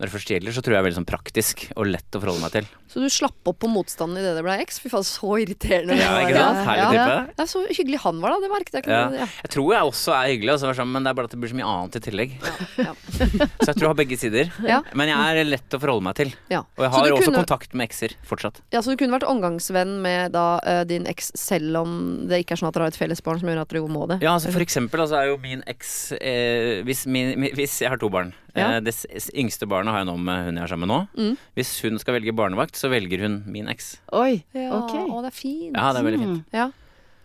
når det først gjelder, så tror jeg er veldig sånn praktisk og lett å forholde meg til.
Så du slapp opp på motstanden idet det ble eks? Fy faen, så irriterende. det
Ja,
var.
ikke sant? Herlig
ja.
type.
Det er så hyggelig han var, da. Det merket jeg ikke.
Ja. Jeg tror jeg også er hyggelig, altså, å være sammen, men det er bare at det blir så mye annet i tillegg.
Ja.
Så jeg tror jeg har begge sider.
Ja.
Men jeg er lett å forholde meg til.
Ja.
Og jeg
Så
har
du
også
kunne-
kontakt med ekser fortsatt.
Ja, Så du kunne vært omgangsvenn med da, eh, din eks selv om det ikke er sånn at dere har et felles barn som gjør at dere må det?
Ja, altså for eksempel altså, er jo min eks eh, hvis, min, mi- hvis jeg har to barn,
Ja.
Eh, Det s- s- yngste barnet har jeg nå med hun jeg er sammen med nå.
Mm.
Hvis hun skal velge barnevakt, så velger hun min eks. Mm.
Oi.
Ja,
Ok.
Å, det er fint.
Ja, det er veldig fint.
Ja.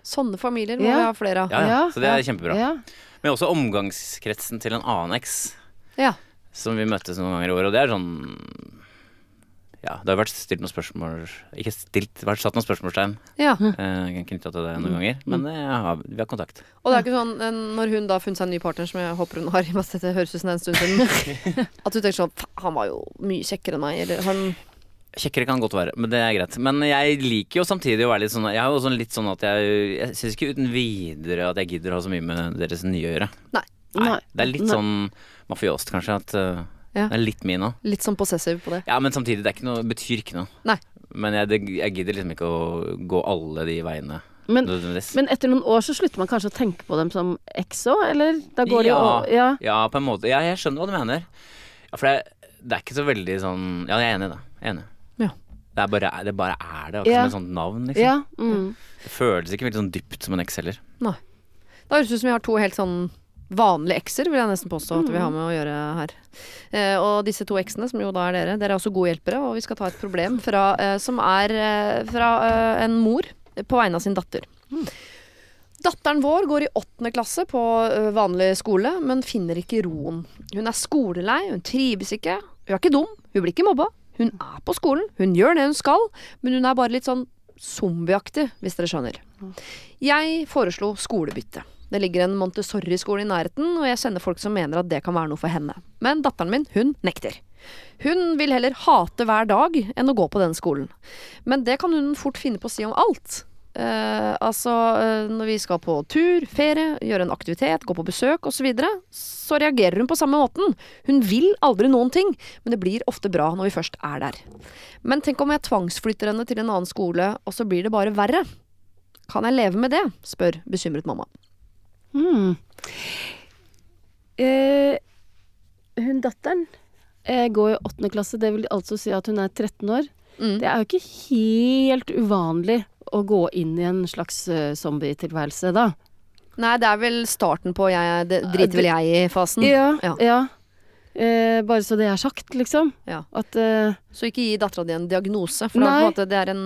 Sånne familier må
Ja.
vi ha flere av.
Ja, ja.
Ja,
Så det er
ja.
kjempebra.
Ja.
Men også omgangskretsen til en annen eks
Ja.
som vi møttes noen ganger i år, og det er sånn ja, det har vært stilt noen spørsmål Ikke stilt, det har vært satt noen spørsmålstegn
Ja.
eh, knytta til det noen ganger. Men eh, jeg har, vi har kontakt.
Og det er ikke sånn eh, når hun da har funnet seg en ny partner, som jeg håper hun har, i og med at dette høres ut som det er en stund siden, at du tenker sånn "Fa, Han var jo mye kjekkere enn meg, eller han
Kjekkere kan godt være, men det er greit. Men jeg liker jo samtidig å være litt sånn Jeg er jo også litt sånn at jeg Jeg syns ikke uten videre at jeg gidder å ha så mye med deres nye å gjøre.
Nei.
Nei.
Nei.
Det er litt
Nei.
sånn mafiost, kanskje, at eh,
Ja.
det er litt min òg.
Litt sånn possessiv på det.
Ja, men samtidig, det er ikke noe, betyr ikke noe.
Nei.
Men jeg, det, jeg gidder liksom ikke å gå alle de veiene
Men,
nødvendigvis.
men etter noen år så slutter man kanskje å tenke på dem som eks òg, eller? Da
ja,
går de å- ja.
ja, på en måte. Ja, jeg skjønner hva du mener. Ja, for det, det er ikke så veldig sånn Ja, jeg er enig i det. Jeg er Enig.
Ja.
Det, er bare, det bare er det. Akkurat
Ja.
som et sånt navn, liksom.
Ja. Mm.
Det føles ikke veldig sånn dypt som en X heller.
Nei. Da høres det ut som vi har to helt sånn vanlige ekser, vil jeg nesten påstå at vi har med å gjøre her. Eh, og disse to eksene, som jo da er dere, dere er også gode hjelpere, og vi skal ta et problem fra, eh, som er eh, fra eh, en mor på vegne av sin datter. Datteren vår går i åttende klasse på eh, vanlig skole, men finner ikke roen. Hun er skolelei, hun trives ikke, hun er ikke dum, hun blir ikke mobba. Hun er på skolen, hun gjør det hun skal, men hun er bare litt sånn zombieaktig, hvis dere skjønner. Jeg foreslo skolebytte. Det ligger en Montessori-skole i nærheten, og jeg kjenner folk som mener at det kan være noe for henne. Men datteren min, hun nekter. Hun vil heller hate hver dag enn å gå på den skolen. Men det kan hun fort finne på å si om alt. Eh, altså eh, når vi skal på tur, ferie, gjøre en aktivitet, gå på besøk osv., så, videre, så reagerer hun på samme måten. Hun vil aldri noen ting, men det blir ofte bra når vi først er der. Men tenk om jeg tvangsflytter henne til en annen skole, og så blir det bare verre. Kan jeg leve med det? spør bekymret mamma.
Mm. Eh, hun datteren eh, går i åttende klasse, det vil altså si at hun er 13 år.
Mm.
Det er jo ikke helt uvanlig å gå inn i en slags eh, zombietilværelse da.
Nei, det er vel starten på jeg, det driter vel jeg i-fasen.
Ja.
Ja.
Mm. ja. Eh, bare så det er sagt, liksom.
Ja.
At eh,
Så ikke gi dattera di en diagnose, for det er, på en
Nei.
måte, det er en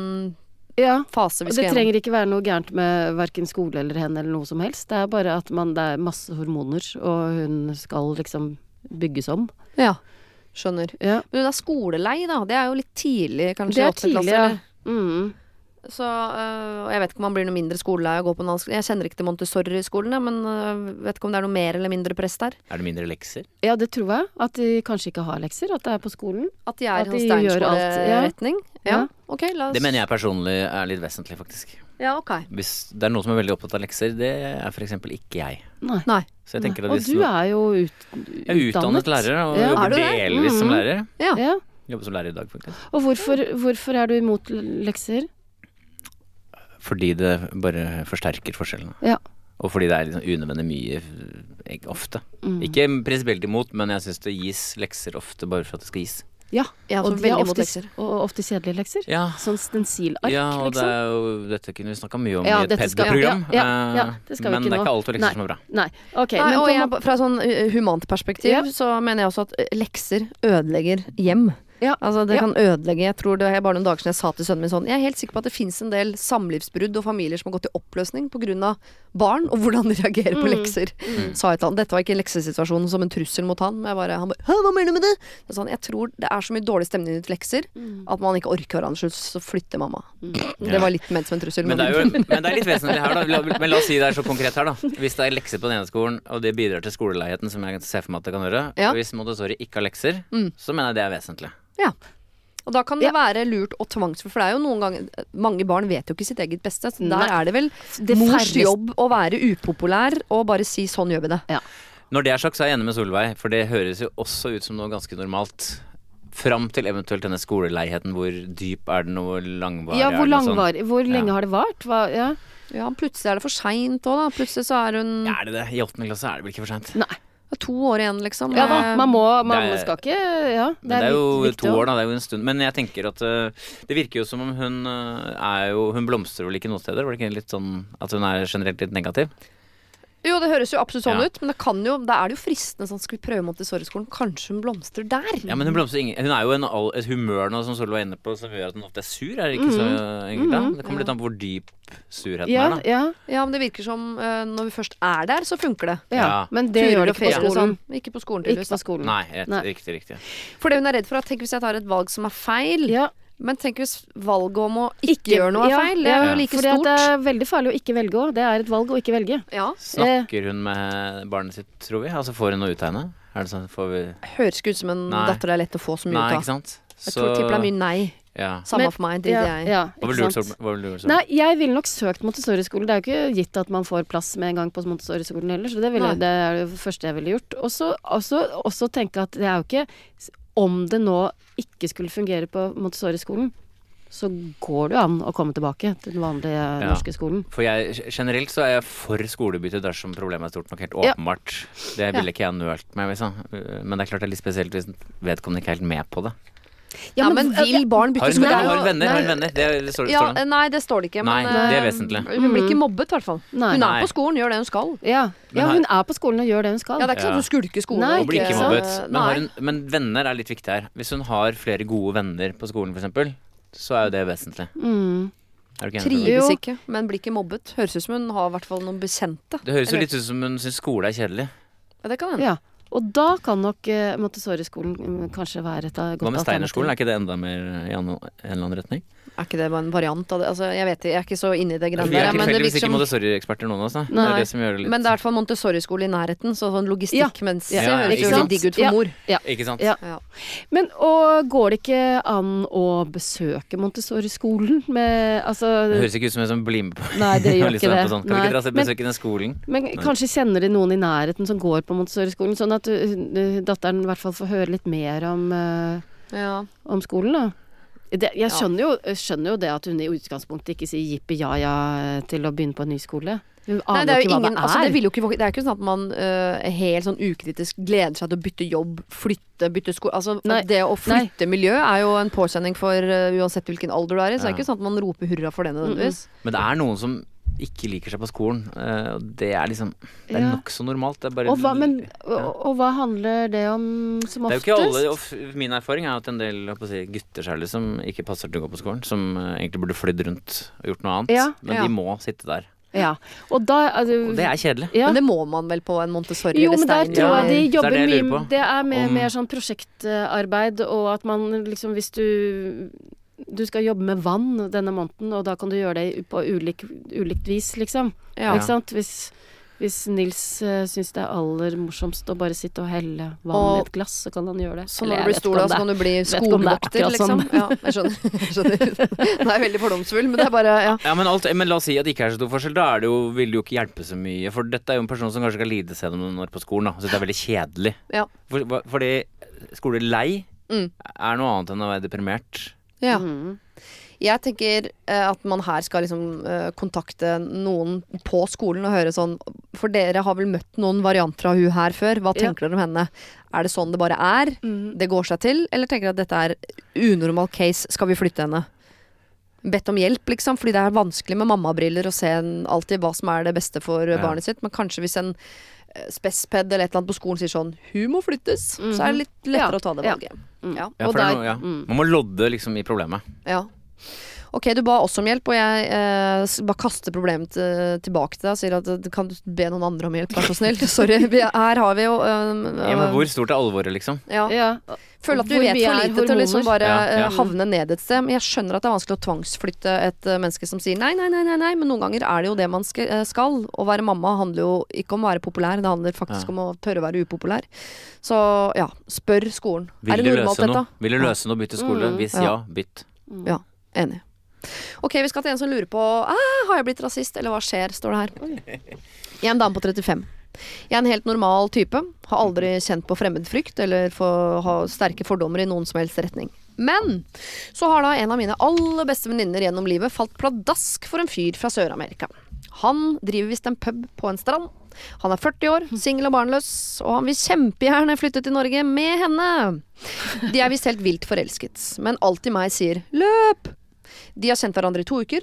Ja.
fase
Og
vi
det
skal gjennom.
trenger ikke være noe gærent med verken skole eller henne eller noe som helst. Det er bare at man, det er masse hormoner, og hun skal liksom bygges om.
Ja, skjønner.
Ja.
Men hun er skolelei, da. Det er jo litt tidlig, kanskje. i
Det er
åttende klasse,
tidlig, ja.
eller?
Mm.
Så øh, og jeg vet ikke om man blir noe mindre skolelei av å gå på en annen skole. Jeg kjenner ikke til Montessori-skolen, jeg, men øh, vet ikke om det er noe mer eller mindre press der.
Er det mindre lekser?
Ja, det tror jeg. At de kanskje ikke har lekser, at det er på skolen.
At de er
At
i sånn
de gjør alt, ja.
steinerskoleretning. Ja.
Ja.
ok, la oss
Det mener jeg personlig er litt vesentlig, faktisk.
Ja, ok.
Hvis det er noen som er veldig opptatt av lekser, det er f.eks. ikke jeg.
Nei.
Nei.
Så jeg tenker at
Og
hvis
du
noen-
er jo ut,
Jeg er utdannet lærer, og
Er
Ja.
jobber
du det?
delvis som
Mhm.
lærer.
Ja.
Ja.
Jobber som lærer i dag, faktisk.
Og hvorfor, hvorfor er du imot l- lekser?
Fordi det bare forsterker forskjellene.
Ja.
Og fordi det er liksom unødvendig mye eh, ofte.
Mm.
Ikke prinsipielt imot, men jeg syns det gis lekser ofte bare for at det skal gis.
Ja.
Jeg er også
og de er
veldig imot
ofte,
lekser.
og ofte kjedelige lekser.
Ja,
Sånn stensilark,
ja og det
liksom.
er jo, dette kunne vi snakka mye om
Ja,
i et
dette skal-
PED-program,
ja, ja, ja,
eh,
det skal vi
men
ikke
det er
nå.
ikke alt og lekser
Nei.
som er bra.
Nei. Ok,
Nei,
men
og jeg,
Tom,
fra sånn uh, humant perspektiv
Ja.
så mener jeg også at uh, lekser ødelegger hjem.
Ja.
Altså Det
Ja.
kan ødelegge Jeg tror det er bare noen dager siden jeg sa til sønnen min sånn Jeg er helt sikker på at det finnes en del samlivsbrudd og familier som har gått i oppløsning pga. barn og hvordan de reagerer på
Mm.
lekser.
Mm.
Sa jeg til han Dette var ikke en leksesituasjon som en trussel mot han, men jeg bare, han bare Hæ, hva mener du med det? det er sånn, jeg tror det er så mye dårlig stemning rundt lekser
Mm.
at man ikke orker hverandre, så- så flytter mamma. Det var litt ment som en trussel.
Men det, er jo, men det er litt vesentlig her, da. La- Men la oss si det er så konkret her, da. Hvis det er lekser på den ene skolen, og det bidrar til skoleleigheten, som jeg ser for meg at det kan gjøre,
Ja.
og hvis Montessori ikke har lekser,
Mm.
så mener jeg det er vesentlig.
Og da kan det være lurt å tvangsføre, for det er jo noen ganger Mange barn vet jo ikke sitt eget beste. Så der
Nei.
er det vel
Det
mors
færreste-
jobb å være upopulær og bare si 'sånn gjør vi det'.
Når det er sagt, så er jeg enig med Solveig, for det høres jo også ut som noe ganske normalt. Fram til eventuelt denne skoleleigheten, hvor dyp er den, og hvor langvarig
ja,
er den?
hvor,
og sånn.
langvarig- hvor lenge
Ja.
har det vart? Hva, ja.
Ja, plutselig er det for seint òg, da. Plutselig så er hun
Er det det? I åttende klasse er det vel ikke for seint?
Nei.
det er to år igjen, liksom.
Ja da, man må Man
Det er-
skal ikke Ja.
Men det er jo
litt viktig
to
også.
år, da. Det er jo en stund. Men jeg tenker at eh, det virker jo som om hun eh, er jo Hun blomstrer vel ikke noen steder? Var det ikke litt sånn at hun er generelt litt negativ?
Jo, det høres jo absolutt sånn
Ja.
ut, men det kan jo, da er det jo fristende sånn Skal vi prøve Montessori-skolen? Kanskje hun blomstrer der?
Ja, men hun blomstrer ingen Hun er jo en, all- et humør nå som Solveig var inne på, som gjør at hun ofte er sur. Er det ikke så, egentlig? Det kommer litt an på hvor dyp surheten
Ja,
er, da.
ja,
Mm-hmm. Ja, men det virker som eh, når vi først er der, så funker det.
ja.
Ja.
Men det
Turer
gjør det
og
ikke på
ferier og
skolen.
Sånn. Ikke på skolen,
Ikke
tydeligvis.
på skolen.
Nei, rett,
Nei.
riktig, riktig.
For det hun er redd for, er tenk hvis jeg tar et valg som er feil.
Ja,
Men tenk hvis valget om å ikke, gjøre noe er
ja,
feil. Det er
ja.
jo like
Fordi at
stort.
det er veldig farlig å ikke velge òg. Det er et valg å ikke velge.
Ja.
Snakker hun med barnet sitt, tror vi? Altså, får hun noe ut av henne? Er det sånn, får vi
Høres ikke ut som en
Nei.
datter det er lett å få så mye
Nei,
ut av.
ikke sant?
Jeg tror tipper det er mye nei.
ja.
Samme
Men-
for meg, driter
ja,
jeg i.
ja,
Hva ville
ikke
du gjort,
sant?
Solveig? Hva ville du gjort, Solveig?
Nei, jeg ville nok søkt Montessori-skole. Det er jo ikke gitt at man får plass med en gang på Montessori-skolen heller, så det, ville,
Nei.
det er det første jeg ville gjort. Og så også- også tenke at det er jo ikke Om det nå ikke skulle fungere på Montessori-skolen, så går det jo an å komme tilbake til den vanlige norske skolen.
For jeg, generelt så er jeg for skolebytte dersom problemet er stort nok, helt
Ja.
åpenbart. Det ville ikke jeg nølt med, liksom. Men det er klart det er litt spesielt hvis vedkommende ikke er helt med på det.
Ja, men vil barn
Har
bytte
hun,
skole?
har
Det
hun
er jo-
venner? Har hun venner? Det er- står,
Ja,
står det.
nei, det står det ikke. Men,
Nei, det er
eh,
vesentlig.
Hun blir ikke mobbet, i hvert fall.
Nei.
Hun
Nei.
er på skolen, gjør det hun skal.
Ja.
Men
ja,
har-
hun er på skolen og gjør det hun skal.
Ja, det er ikke sånn
Ja.
at hun skulker skolen.
Nei,
Og blir ikke
ikke
mobbet.
eh,
Men, har
nei.
hun, men venner er litt viktig her. Hvis hun har flere gode venner på skolen, f.eks., så er jo det vesentlig.
Mm.
Er du ikke enig? Solveig?
Jo.
Trives ikke, men blir ikke mobbet. Høres ut som hun har i hvert fall noen bekjente.
Det høres jo
Eller-
litt ut som hun syns skole er kjedelig.
Ja, det kan hende.
ja. Og da kan nok eh, Montessori-skolen mm, kanskje være et av- godt
Hva med
alternativ.
Steinerskolen? Er ikke det enda mer i anno- en eller annen retning?
Er ikke det bare en variant av det? Altså, jeg vet ikke, jeg er ikke så inne i det greiene
Vi er
der. Men det
tilfeldigvis
virker
ikke
som
Montessori-eksperter, noen av oss. da. Det
Nei.
er det som gjør det litt
Men det er i hvert fall Montessori-skole i nærheten, så sånn logistikkmessig
Ja, ja, ja,
høres
ikke
jo veldig
sant?
digg ut for
Ja.
mor.
Ikke sant?
Ja.
Ja.
Men og går det ikke an å besøke Montessori-skolen med
Det
Altså
høres ikke ut som en sånn som blir med på
Nei, det gjør
Liksom
ikke det.
på Sånn. Kan vi
Nei.
ikke dra og se-
Men,
besøke den skolen?
men kanskje kjenner de noen i nærheten som går på Montessori-skolen, sånn at uh, datteren i hvert fall får høre litt mer om, uh,
Ja.
om skolen, da. Det, jeg skjønner jo, jeg skjønner jo det at hun i utgangspunktet ikke sier jippi ja ja til å begynne på en ny skole. Hun
Nei,
aner
det, er jo
jo ikke
ingen,
hva det er.
altså, det, vil jo ikke, vok- det er jo ikke sånn at man øh, helt sånn ukritisk gleder seg til å bytte jobb, flytte, bytte skole Altså
Nei.
det å flytte miljø er jo en påkjenning for øh, uansett hvilken alder du er i, så det er ikke sånn at man roper hurra for det nødvendigvis.
Men det er noen som ikke liker seg på skolen. eh, Og det er liksom Det er
Ja.
nokså normalt. Det er bare
og, hva, men, og,
Ja.
og hva handler det om som
det er jo
oftest?
ikke alle, og f- Min erfaring er at en del jeg holdt på å si, gutter særlig som ikke passer til å gå på skolen, som eh, egentlig burde flydd rundt og gjort noe annet,
Ja.
men
Ja.
de må sitte der.
Ja. Og da altså,
Og det er kjedelig.
ja.
Men det må man vel på en Montessori
Jo,
eller
men der
Stein?
tror jeg
eller-
de
det er
jobber
det jeg lurer
mye
på.
Det er mer,
Om-
mer sånn prosjektarbeid, og at man liksom Hvis du du skal jobbe med vann denne måneden, og da kan du gjøre det på ulik, ulikt vis, liksom.
Ja.
Ikke sant? Hvis, hvis Nils uh, syns det er aller morsomst å bare sitte og helle vann i
Og-
et glass, så kan han gjøre det.
Så sånn
Eller
når
jeg
du blir
vet
stor
ikke
da, så
om det er-
kan du bli
vet ikke om det er
skogvokter,
akkurat
liksom.
sånn.
Ja, jeg skjønner. jeg skjønner. Nå er jeg veldig fordomsfull, men det er bare ja.
Ja, men, alt, men la oss si at det ikke er så stor forskjell. Da er det jo, vil det jo ikke hjelpe så mye. For dette er jo en person som kanskje skal lide seg gjennom noen år på skolen. Da. Så det er veldig kjedelig.
Ja.
For, hva- fordi skolelei
Mm.
er noe annet enn å være deprimert.
ja.
Mm.
Jeg tenker eh, at man her skal liksom eh, kontakte noen på skolen og høre sånn For dere har vel møtt noen varianter av hun her før. Hva
Ja. Mhm.
tenker dere om henne? Er det sånn det bare er? Det går seg til? Eller tenker dere at dette er unormal case, skal vi flytte henne? Bedt om hjelp, liksom, fordi det er vanskelig med mammabriller å se en- alltid hva som er det beste for eh,
Ja.
barnet sitt. Men kanskje hvis en eh, spesped eller et eller annet på skolen sier sånn 'Hun må flyttes', så er det litt lettere
Mhm. Ja.
å ta det
Ja. Mm.
valget. Ja.
Ja,
Og
for det er
der- mm.
noe- ja. Man må lodde liksom i problemet.
ja. Ok, du ba oss om hjelp, og jeg eh, s- bare kaster problemet eh, tilbake til deg og sier at eh, kan du be noen andre om hjelp, vær så snill. Sorry. Vi, her har vi jo eh,
Ja, men hvor stort er alvoret, liksom?
ja.
Ja.
Føler at du
Hvor
vet
mye
for
er
lite til å liksom
hormoner?
bare
Ja, ja.
eh, havne ned et sted. Men jeg skjønner at det er vanskelig å tvangsflytte et eh, menneske som sier nei, nei, nei, nei, nei. Men noen ganger er det jo det man sk- eh, skal. Å være mamma handler jo ikke om å være populær, det handler faktisk
Ja.
om å tørre å være upopulær. Så ja, spør skolen.
Vil
er
du
det
løse
normalt
noe?
dette? Mm.
Vil du løse noe, bytte skole? Hvis
Ja.
ja, bytt.
Ja, enig. Ok, vi skal til en som lurer på «Ah, Har jeg blitt rasist, eller hva skjer, står det her. Jeg er en dame på 35. Jeg er en helt normal type. Har aldri kjent på fremmedfrykt eller for, har sterke fordommer i noen som helst retning. Men så har da en av mine aller beste venninner gjennom livet falt pladask for en fyr fra Sør-Amerika. Han driver visst en pub på en strand. Han er 40 år, singel og barnløs, og han vil kjempegjerne flytte til Norge med henne. De er visst helt vilt forelsket, men alltid meg sier 'løp'. De har kjent hverandre i to uker.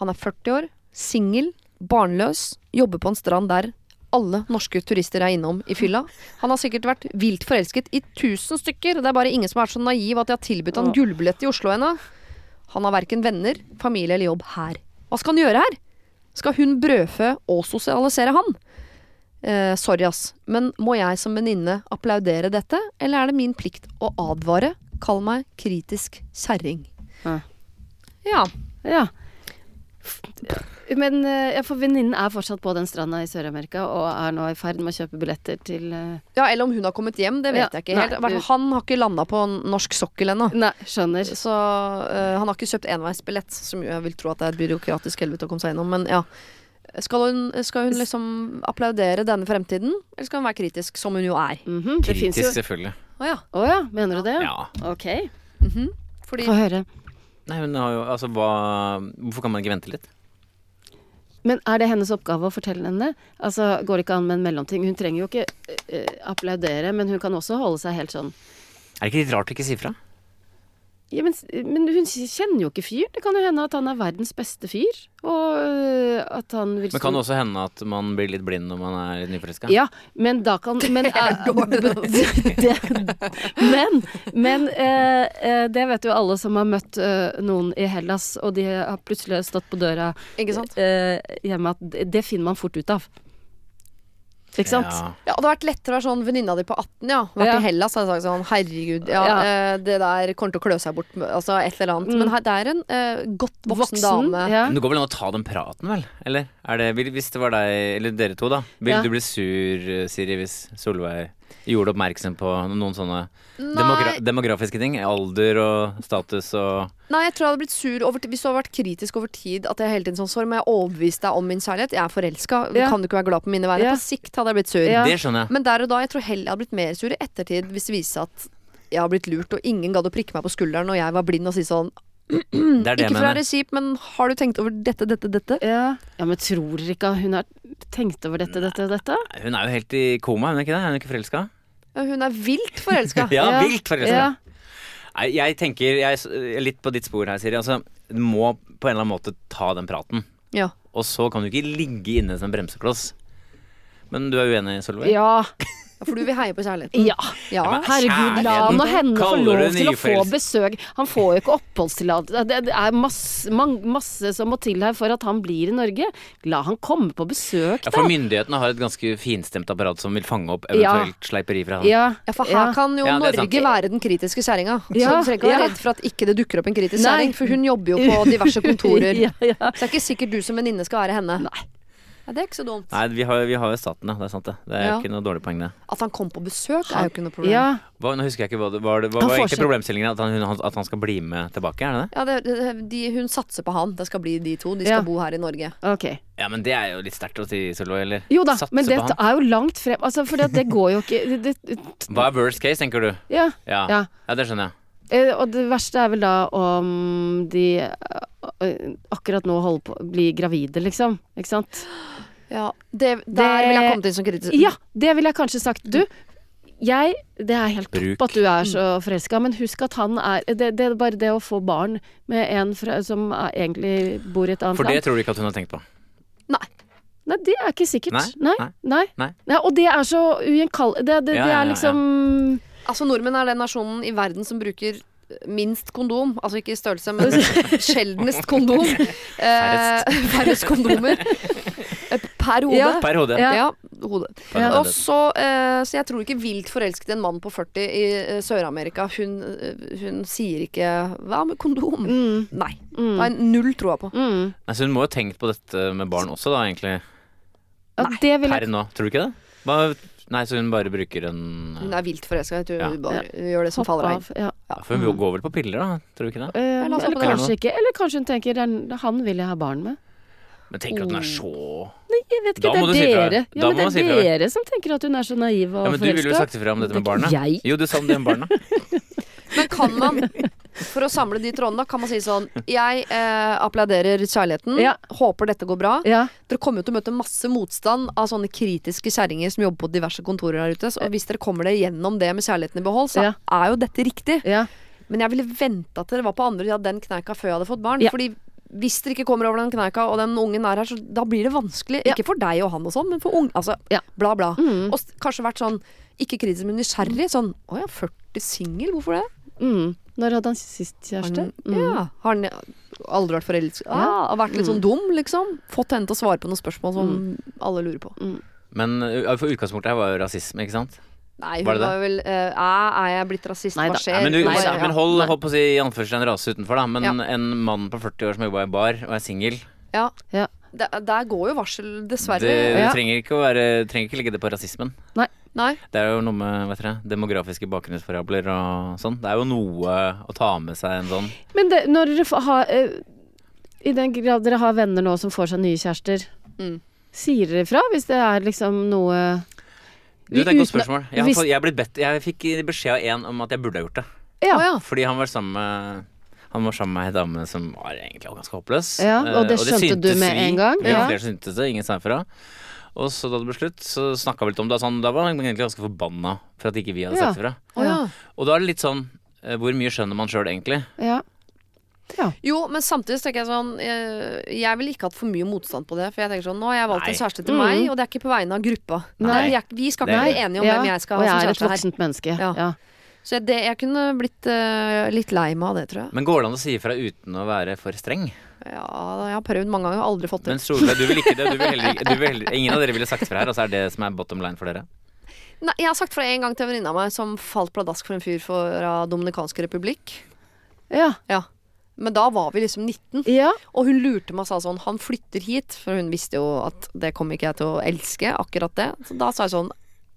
Han er 40 år, singel, barnløs, jobber på en strand der alle norske turister er innom i fylla. Han har sikkert vært vilt forelsket i tusen stykker. Det er bare ingen som er så naiv at de har tilbudt han gullbillett i Oslo ennå. Han har verken venner, familie eller jobb her. Hva skal han gjøre her? Skal hun brødfø og sosialisere han? Eh, sorry, ass, men må jeg som venninne applaudere dette, eller er det min plikt å advare? Kall meg kritisk kjerring.
Ja.
Ja.
Ja. Men eh, ja, for venninnen er fortsatt på den stranda i Sør-Amerika og er nå i ferd med å kjøpe billetter til eh,
ja, eller om hun har kommet hjem, det vet
Ja,
jeg ikke helt.
nei,
Hvertfall Han har ikke landa på norsk sokkel ennå.
Nei, skjønner.
Så eh, han har ikke kjøpt enveisbillett, som jeg vil tro at det er et byråkratisk helvete å komme seg gjennom, men ja. Skal hun, skal hun liksom applaudere denne fremtiden, eller skal hun være kritisk, som hun jo er?
Mhm, det fins
Kritisk,
jo
selvfølgelig.
Å ja.
Å ja, mener du det?
Ja.
Ok.
Fordi
Få høre.
Nei, hun har jo Altså, hva Hvorfor kan man ikke vente litt?
Men er det hennes oppgave å fortelle henne? Altså, Går det ikke an med en mellomting? Hun trenger jo ikke eh, applaudere, men hun kan også holde seg helt sånn
Er det ikke litt rart å ikke si fra?
ja, men, s- men hun s- kjenner jo ikke fyr. Det kan jo hende at han er verdens beste fyr. Og eh, at han vil
Men kan
stå-
det også hende at man blir litt blind når man er litt nyforelska?
Ja, men da kan Men, eh, det, men, men eh, eh, det vet jo alle som har møtt eh, noen i Hellas, og de har plutselig stått på døra
Ikke sant?
eh, hjemme, at det- det finner man fort ut av. Ikke sant?
Ja.
Ja, og det hadde vært lettere å være sånn venninna di på 18, ja. Vært
Ja.
i Hellas hadde jeg sagt sånn, herregud, ja,
Ja.
eh, det der kommer til å klø seg bort, med- altså et eller annet. Men her, det er en eh, godt voksen, dame.
Ja.
Men det går vel an å ta den praten, vel? Eller er det, vil- hvis det var deg, eller dere to, da. Vil
Ja.
du bli sur, eh, Siri, hvis Solveig gjorde oppmerksom på noen sånne
Nei,
demogra demografiske ting? Alder og status og
nei, jeg tror jeg hadde blitt sur over, ti- hvis du hadde vært kritisk over tid. At jeg hele tiden sånn sorry, må jeg overbevise deg om min kjærlighet? Jeg er forelska,
Ja.
kan du ikke være glad på mine vegne?
Ja.
På sikt hadde jeg blitt sur.
Ja.
Det skjønner jeg.
Men der og da, jeg tror heller jeg hadde blitt mer sur i ettertid hvis det viste seg at jeg har blitt lurt, og ingen gadd å prikke meg på skulderen, og jeg var blind og si sånn
Det er
Ikke
det jeg
for å
mener.
være kjip, men har du tenkt over dette, dette, dette?
Ja. ja, men tror dere ikke hun har tenkt over dette, dette og dette?
Hun er jo helt i koma, er hun ikke det? Er hun ikke forelska?
Ja, Hun er vilt forelska.
Ja,
Ja.
vilt forelska.
Ja.
Nei, jeg tenker jeg s- er litt på ditt spor her, Siri. Altså, du må på en eller annen måte ta den praten.
ja.
Og så kan du ikke ligge inne som en bremsekloss. Men du er uenig, Solveig?
Ja.
Ja, For du vil heie på kjærligheten?
ja.
Ja.
men-
Herregud, la
Kjærligheten.
han og henne få
Ah, Kaller
lov
du
til å få
nyforelsk-
besøk. Han får jo ikke oppholdstillatelse. Det- Det er masse, man- masse som må til her for at han blir i Norge. La han komme på besøk,
Ja,
da.
for myndighetene har et ganske finstemt apparat som vil fange opp
Ja.
eventuelt sleiperi fra han.
Ja,
Ja, for her
ja.
kan jo
Ja, det er sant.
Norge være den kritiske kjerringa. så
Ja,
du trenger ikke være
ja.
redd for at ikke det dukker opp en kritisk
Nei.
kjerring, for hun jobber jo på diverse kontorer.
ja, ja.
Så det er ikke sikkert du som venninne skal være henne. Nei. Ja, det er ikke så dumt.
Nei, vi har, vi har jo staten, ja. Det er sant, det. Det er
Ja.
ikke noe dårlig poeng, det.
At han kom på besøk, er jo ikke noe problem.
ja.
Hva, nå husker jeg ikke hva det var. Det, hva
Han
var
får
egentlig
seg-
problemstillingen? At han, hun, at han skal bli med tilbake, er det det?
Ja, det, det, de, hun satser på han. Det skal bli de to. De skal
Ja.
bo her i Norge.
Ok.
Ja, men det er jo litt sterkt å si, Solveig, eller?
Jo da,
Satse
men det
på han.
er jo langt frem. Altså, for det, det går jo ikke det, det,
Hva er worst case, tenker du?
Ja.
Ja. ja.
ja.
det skjønner jeg.
Eh, Og det verste er vel da om de eh, eh, akkurat nå holder på å bli gravide, liksom. Ikke sant?
Ja, det, Der vil jeg komme til som kritisk.
Ja, det ville jeg kanskje sagt. Du, jeg Det er helt
Bruk. Mm.
topp at du er så forelska, men husk at han er det, det er bare det å få barn med en fra, som er, egentlig bor i et annet
For det
land.
tror du ikke at hun har tenkt på.
Nei.
Nei, det er ikke sikkert.
Nei,
Nei.
nei,
Nei.
nei.
Nei, og det er så ugjenkallelig. Det, det,
Ja,
det
ja, ja,
er
ja.
liksom
Altså, nordmenn er den nasjonen i verden som bruker minst kondom. Altså ikke i størrelse, men sjeldnest kondom. Eh, Færrest kondomer. Eh, Per hode.
Ja.
Per hode.
Ja.
Ja.
hodet.
Per hode.
Og så, eh, så jeg tror ikke vilt forelsket i en mann på 40 i eh, Sør-Amerika. Hun, eh, hun sier ikke 'hva med kondom'? Nei. Det er null troa på.
mm.
Nei, så hun må jo ha tenkt på dette med barn også, da, egentlig.
Ja, det vil jeg
Per nå. Tror du ikke det? Hva, nei, så hun bare bruker en
Hun er vilt forelska. Jeg tror
Ja.
hun bare gjør det som faller av.
Ja.
ja, For hun går vel på piller, da? Tror du ikke det?
Eh,
la oss
eller
håpe det.
kanskje ikke. Eller kanskje hun tenker "Den- han vil jeg ha barn med.
Men tenker du at hun er så
Jeg vet
Da
ikke,
må du
det
si
er
fra.
dere.
Da
Ja,
må
men
man si
det
fra.
er dere som tenker at hun er så naiv og
Ja, men Du ville jo
forelska.
sagt ifra om dette med
Det er ikke
barna.
jeg.
Jo, du sa om det med barna.
Men kan man, for å samle de trådene, da, kan man si sånn Jeg eh, applauderer kjærligheten.
Ja.
Håper dette går bra.
Ja.
Dere kommer jo til å møte masse motstand av sånne kritiske kjerringer som jobber på diverse kontorer her ute. Og hvis dere kommer dere gjennom det med kjærligheten i behold, så
Ja.
er jo dette riktig.
Ja.
Men jeg ville venta til dere var på andre siden av den kneika før jeg hadde fått barn.
Ja.
Fordi hvis dere ikke kommer over den kneika, og den ungen er her, så da blir det vanskelig.
Ja.
Ikke for deg og han og sånn, men for ung... Altså,
Ja. Mm.
bla, bla. Og s- kanskje vært sånn, ikke kritisk, men nysgjerrig. Sånn, å ja, 40 singel, hvorfor det?
Mm. Når hadde han sist kjæreste?
Han, ja, har han aldri vært forelsket? Ja.
Mm. Ja. Mm.
har vært litt sånn dum, liksom? Fått henne til å svare på noen spørsmål som alle lurer på.
Mm.
Men uh, for utgangspunktet her var jo rasisme, ikke sant?
Nei, hun
Var
var,
det det?
jo vel eh, «Æ, Er jeg blitt rasist?
Nei da.
Hva skjer?
Nei, men, du,
Hva
Eh, Nei,
gjør jeg?»
men hold,
Nei.
hold på å si i anførselen rase utenfor, da. Men
Ja.
en mann på 40 år som jobba i bar og er singel,
ja.
Ja.
Der, der går jo varsel,
det
dessverre.
Ja.
trenger ikke å være Trenger ikke legge det på rasismen.
Nei.
Det er jo noe med vet dere, demografiske bakgrunnsforabler og sånn. Det er jo noe å ta med seg en sånn.
Men det, når dere fa- har eh, I den grad dere har venner nå som får seg nye kjærester,
Mm.
sier dere fra hvis det er liksom noe
Du, det er et godt spørsmål. Jeg, har
Hvis-
fått, jeg, er blitt bedt, jeg fikk beskjed av en om at jeg burde ha gjort det.
Å
Ja.
ja.
Fordi han var sammen med Han var sammen med ei dame som var egentlig ganske håpløs.
Ja, og
Eh,
det skjønte du
syntes
med
vi.
en gang,
Vi var
ja.
flere som syntes det, ingen sa ifra. Og så da det ble slutt, så snakka vi litt om det. og Sånn, da var han egentlig ganske forbanna for at ikke vi hadde
Ja.
sagt ifra.
Å ja.
Og da er det litt sånn eh, Hvor mye skjønner man sjøl egentlig?
ja.
Jo, men samtidig så tenker jeg sånn eh, Jeg ville ikke hatt for mye motstand på det. For jeg tenker sånn, nå har jeg valgt
Nei.
en kjæreste til
Mm.
meg, og det er ikke på vegne av gruppa.
Nei.
Det er ikke- vi skal ikke
Nei.
være enige om
ja.
hvem jeg skal
Og
ha som
jeg er et
kjæreste her.
voksent menneske.
Ja.
Ja.
Så jeg, det, jeg kunne blitt eh, litt lei meg av det, tror jeg.
Men går det an å si ifra uten å være for streng?
Ja, jeg har prøvd mange ganger og aldri fått
Men
til.
Solveig, du vil ikke det. Du vil heller, ikke- du vil heller, ingen av dere ville sagt ifra her. Altså er det som er bottom line for dere.
Nei, jeg har sagt fra en gang til en venninne av meg som falt pladask for en fyr fra Dominikansk republikk.
Ja.
Ja. Men da var vi liksom 19,
ja.
og hun lurte meg og sa sånn 'Han flytter hit', for hun visste jo at det kom ikke jeg til å elske, akkurat det. Så da sa jeg sånn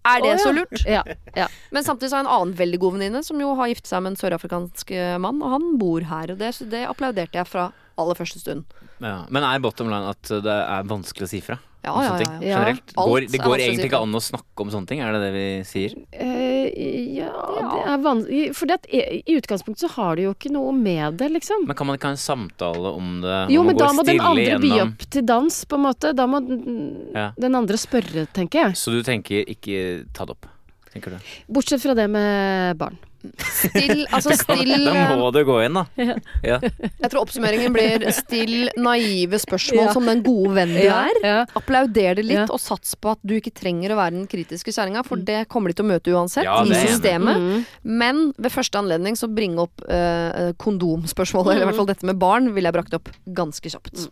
Er det
Å, ja.
så lurt?
Ja. ja.
Men samtidig så har jeg en annen veldig god venninne som jo har giftet seg med en sørafrikansk eh, mann, og han bor her, og det, så det applauderte jeg fra aller første stund.
Ja. Men er bottom line at det er vanskelig å si ifra?
Ja,
om
ja,
sånne
ja, ja.
ting?
ja.
Generelt.
Alt
Går,
er
det går
vanskelig å si
egentlig
ifra.
ikke an å snakke om sånne ting, er det det vi sier?
Eh, ja, det er vanskelig For det at, i i utgangspunktet så har du jo ikke noe med det, liksom.
Men kan man ikke ha en samtale om det? Man
Jo, men
gå
da må den
stille
andre by
gjennom-
opp til dans, på en måte. Da må den
Ja.
den andre spørre, tenker jeg.
Så du tenker ikke ta det opp? Tenker du?
Bortsett fra det med barn.
Still, altså still
Da
eh,
må du gå inn, da. Ja.
Jeg tror oppsummeringen blir still naive spørsmål
Ja.
som den gode vennen du
Ja,
er.
ja.
Applauder det litt,
Ja. Mm.
og sats på at du ikke trenger å være den kritiske kjerringa, for det kommer de til å møte uansett
Ja,
i
det er jeg
systemet. Men ved første anledning så bringe opp eh, kondomspørsmålet, eller i hvert fall dette med barn, ville jeg brakt opp ganske kjapt.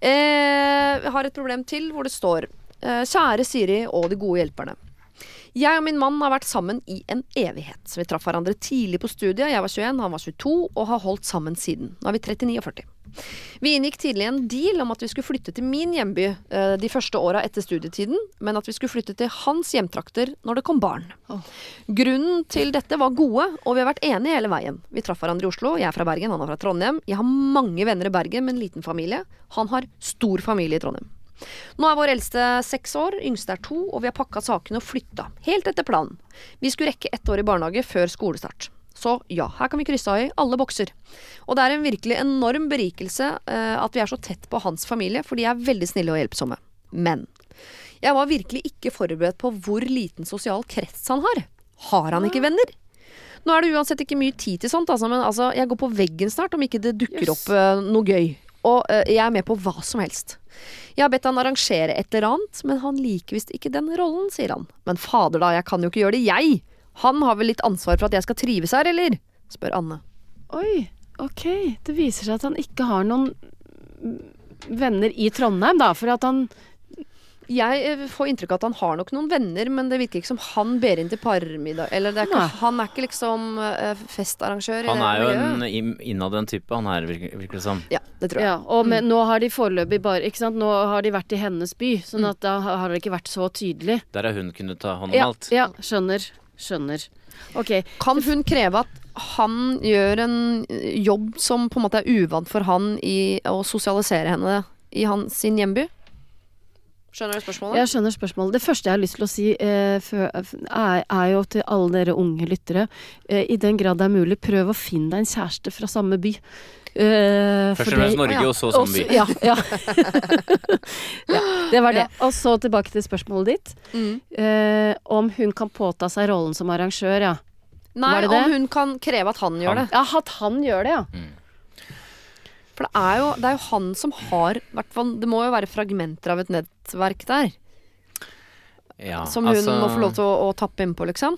Eh, jeg har et problem til hvor det står eh, Kjære Siri og de gode hjelperne. Jeg og min mann har vært sammen i en evighet. Vi traff hverandre tidlig på studiet. Jeg var 21, han var 22, og har holdt sammen siden. Nå er vi 39 og 40. Vi inngikk tidlig en deal om at vi skulle flytte til min hjemby eh, de første åra etter studietiden, men at vi skulle flytte til hans hjemtrakter når det kom barn. Grunnen til dette var gode, og vi har vært enige hele veien. Vi traff hverandre i Oslo, jeg er fra Bergen, han er fra Trondheim. Jeg har mange venner i Bergen, men liten familie. Han har stor familie i Trondheim. Nå er vår eldste seks år, yngste er to, og vi har pakka sakene og flytta. Helt etter planen. Vi skulle rekke ett år i barnehage før skolestart. Så ja, her kan vi krysse av i alle bokser. Og det er en virkelig enorm berikelse eh, at vi er så tett på hans familie, for de er veldig snille og hjelpsomme. Men jeg var virkelig ikke forberedt på hvor liten sosial krets han har. Har han ikke venner? Nå er det uansett ikke mye tid til sånt, altså, men altså, jeg går på veggen snart om ikke det dukker opp eh, noe gøy. Og eh, jeg er med på hva som helst. Jeg har bedt han arrangere et eller annet, men han liker visst ikke den rollen, sier han. Men fader da, jeg kan jo ikke gjøre det, jeg! Han har vel litt ansvar for at jeg skal trives her, eller? spør Anne.
Oi, ok. Det viser seg at han ikke har noen venner i Trondheim, da. For at han
Jeg eh, får inntrykk av at han har nok noen venner, men det virker ikke som han ber inn til parmiddag. Eller det er ikke,
Nei.
han er ikke liksom eh, festarrangør i
Han
det
er jo
miljøet.
en im- innad en type, han her, virker virker det som.
Ja, det tror jeg.
Ja, og med, nå har de foreløpig bare Ikke sant, nå har de vært i hennes by, sånn at da har det ikke vært så tydelig.
Der har hun kunnet ta hånd om
Ja,
alt.
ja skjønner. Skjønner. Ok.
Kan hun kreve at han gjør en eh, jobb som på en måte er uvant for han i å sosialisere henne i hans, sin hjemby? Skjønner du spørsmålet?
Jeg skjønner spørsmålet. Det første jeg har lyst til å si, eh, før- er, er jo til alle dere unge lyttere. Eh, I den grad det er mulig, prøv å finne deg en kjæreste fra samme by. Eh, for
Først og fremst
Å,
det-
Norge,
ja.
og så Zombie.
Også- Ja, ja. ja, det var det. Og så tilbake til spørsmålet ditt.
Mm.
Eh, om hun kan påta seg rollen som arrangør, ja.
Nei,
var det det?
om hun kan kreve at han gjør
Han.
det.
Ja, at han gjør det, ja.
For det er jo, det er jo han som har hvertfall- Det må jo være fragmenter av et nettverk der.
Ja, altså-
Som hun må få lov til å, å tappe innpå, liksom.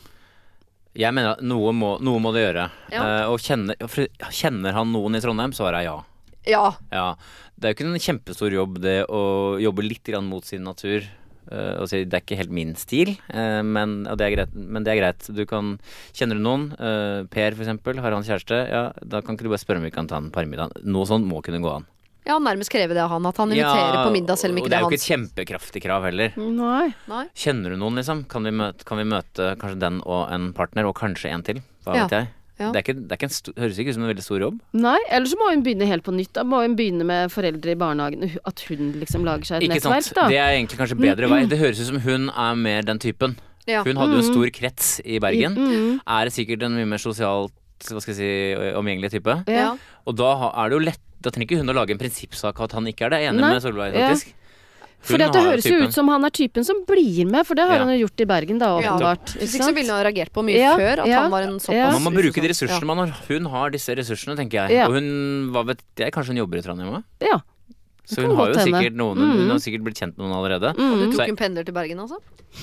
Jeg mener at noe må, noe må det gjøre.
Ja.
Eh, og kjenner, for kjenner han noen i Trondheim, svarer jeg ja.
Ja.
ja. Det er jo ikke en kjempestor jobb det å jobbe litt grann mot sin natur. Eh, og si, det er ikke helt min stil, eh, men, og det er greit, men det er greit. Du kan, kjenner du noen, eh, Per for eksempel, har han kjæreste, ja, da kan ikke du bare spørre om vi kan ta en parmiddag. Noe sånt må kunne gå an.
Ja, han nærmest krever det av han. At han inviterer
Ja,
på middag selv om
og
ikke det er
Det er jo
hans.
ikke et kjempekraftig krav heller.
Nei.
Nei.
Kjenner du noen, liksom? Kan vi møte, kan vi møte kanskje den og en partner, og kanskje en til? Hva
Ja,
vet jeg.
ja.
Det, er ikke, det er ikke en sto- høres ikke ut som en veldig stor jobb.
Nei, Eller så må hun begynne helt på nytt. Da må hun begynne med foreldre i barnehagen. hu- At hun liksom lager seg et
Ikke
nettverk,
sant?
da.
Det er egentlig kanskje bedre vei. Det høres ut som hun er mer den typen.
Ja.
Hun hadde jo
Mm.
en stor krets i Bergen. Er sikkert en mye mer sosialt hva skal jeg si, omgjengelig type.
Ja.
Ja.
Og da ha- er det jo lett Da trenger ikke hun å lage en prinsippsak at han ikke er det. Jeg er Enig
Nei.
med Solveig,
Ja.
faktisk.
For det
har jo
høres jo
typen.
ut som han er typen som blir med, for det har
Ja.
han jo gjort i Bergen, da,
Ja.
åpenbart.
Hvis
Ikke
ikke så
sant?
ville han ha reagert på mye
Ja,
før at
ja,
han var en såpass
ja.
Man må bruke de
uforstått-
ressursene man har. Hun har disse ressursene, tenker jeg.
Ja.
Og hun, hva vet jeg, kanskje hun jobber i Trondheim òg?
Ja.
Så
kan
hun har
godt
jo
hende. Mm.
sikkert noen Hun har sikkert blitt kjent med noen allerede.
Ja. Du
Så
tok
jeg,
en pendler til Bergen, altså?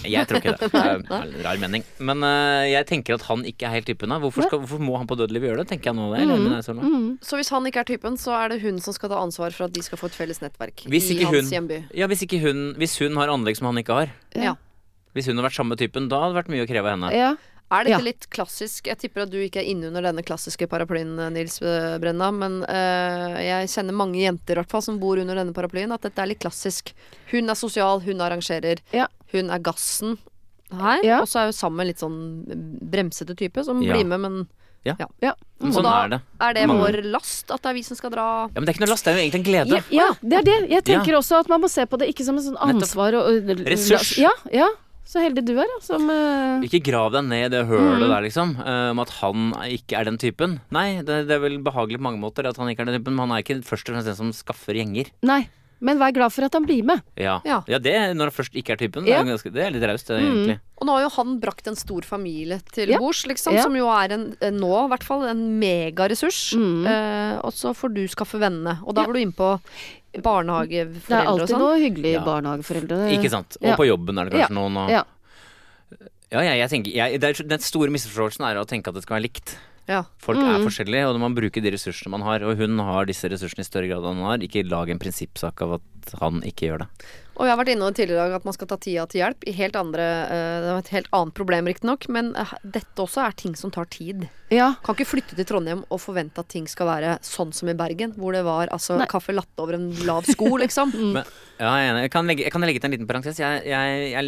jeg tror ikke det. Det er en rar mening. Men eh, jeg tenker at han ikke er helt typen. da. Hvorfor, skal, hvorfor må han på dødelivet gjøre det? Tenker jeg nå
Mm.
det. Eller, men jeg så langt.
Så hvis han ikke er typen, så er det hun som skal ta ansvar for at de skal få et felles nettverk
Hvis
i
ikke
hans
hun-
hjemby.
Ja, hvis, ikke hun, hvis hun har anlegg som han ikke har,
Ja.
hvis hun hadde vært samme typen, da hadde det vært mye å kreve av henne.
ja.
Er dette
Ja.
litt klassisk? Jeg tipper at du ikke er innunder denne klassiske paraplyen, Nils eh, Brenna, men eh, jeg kjenner mange jenter i hvert fall som bor under denne paraplyen, at dette er litt klassisk. Hun er sosial, hun arrangerer,
Ja.
hun er gassen her,
Ja.
og så er hun sammen med en litt sånn bremsete type som
Ja.
blir med, men
ja.
Men
Og
sånn
da
er det.
er det
Mange.
vår last at det er vi som skal dra
Ja, men det er ikke noe last, det er jo egentlig en glede.
Ja, ja, det er det. Jeg tenker også at man må se på det ikke som en sånn ansvar og, og
Ressurs.
Ja, ja. Så heldig du er, da, som eh,
Ikke grav deg ned i det hølet
Mm.
der, liksom. eh, Om at han ikke er den typen. Nei, det, det er vel behagelig på mange måter at han ikke er den typen, men han er ikke først og fremst den som skaffer gjenger.
Nei. Men vær glad for at han blir med.
Ja,
Ja.
det når han først ikke er typen.
Ja.
Det,
Mm.
er ganske, det er litt raust, det, egentlig.
Og nå har jo han brakt en stor familie til
Ja.
bords, liksom,
Ja.
som jo er en, eh, nå i hvert fall, en megaressurs.
Mm.
Eh, og så får du skaffe vennene. Og da var du inne på
Det er
barnehageforeldre og
alltid
sånn.
noe hyggelig
Ja.
barnehageforeldre.
Ikke sant. Og
Mm. Ja.
på jobben er det
Ja.
kanskje noen og
Ja.
Ja, jeg, jeg tenker jeg, det er, Den store misforståelsen er å tenke at det skal være likt.
Ja.
Folk er forskjellige, og man bruker de ressursene man har. Og hun har disse ressursene i større grad enn han har. Ikke lag en prinsippsak av at han ikke gjør det.
Og jeg har vært inne tidligere i dag at man skal ta tida til hjelp. I helt andre, eh, det var et helt annet problem, riktignok, men eh, dette også er ting som tar tid.
Ja.
Kan ikke flytte til Trondheim og forvente at ting skal være sånn som i Bergen, hvor det var altså
Nei. Mm.
kaffe latte over en lav sko, liksom.
Men, ja, jeg, er enig. jeg, kan legge, jeg kan legge til en liten parentes. Jeg, jeg,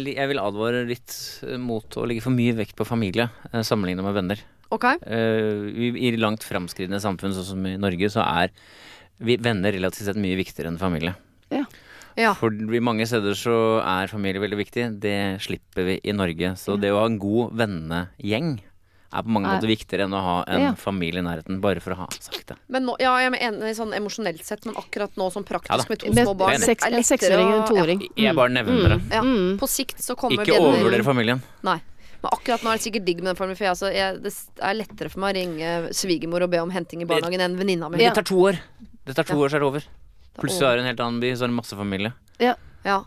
jeg, jeg vil advare litt mot å legge for mye vekt på familie eh, sammenlignet med venner.
Ok?
Eh, i, I langt framskridende samfunn, sånn som i Norge, så er vi venner relativt sett mye viktigere enn familie.
Ja.
For i mange steder så er familie veldig viktig. Det slipper vi i Norge. Så det å ha en god vennegjeng er på mange
Er-
måter viktigere enn å ha en
Ja.
familie i nærheten. Bare for å ha sagt det.
Men nå, ja, jeg er enig sånn emosjonelt sett, men akkurat nå sånn praktisk
Ja da.
med to
Med
små barn det
seks,
er
en
lettere
seksåring og en
å-
toåring. Mm.
Jeg bare nevner det.
Ja, ja. På sikt så Mm. kommer
Ikke
venner-
overvurder familien.
Nei. Men akkurat nå er det sikkert digg med den formen, for jeg, altså, jeg, det er lettere for meg å ringe svigermor og be om henting i barnehagen enn venninna mi.
Det tar to år. Det tar to år, så er det over. Plutselig
over.
er det en helt annen by, så er det masse familie.
Ja.
Ja.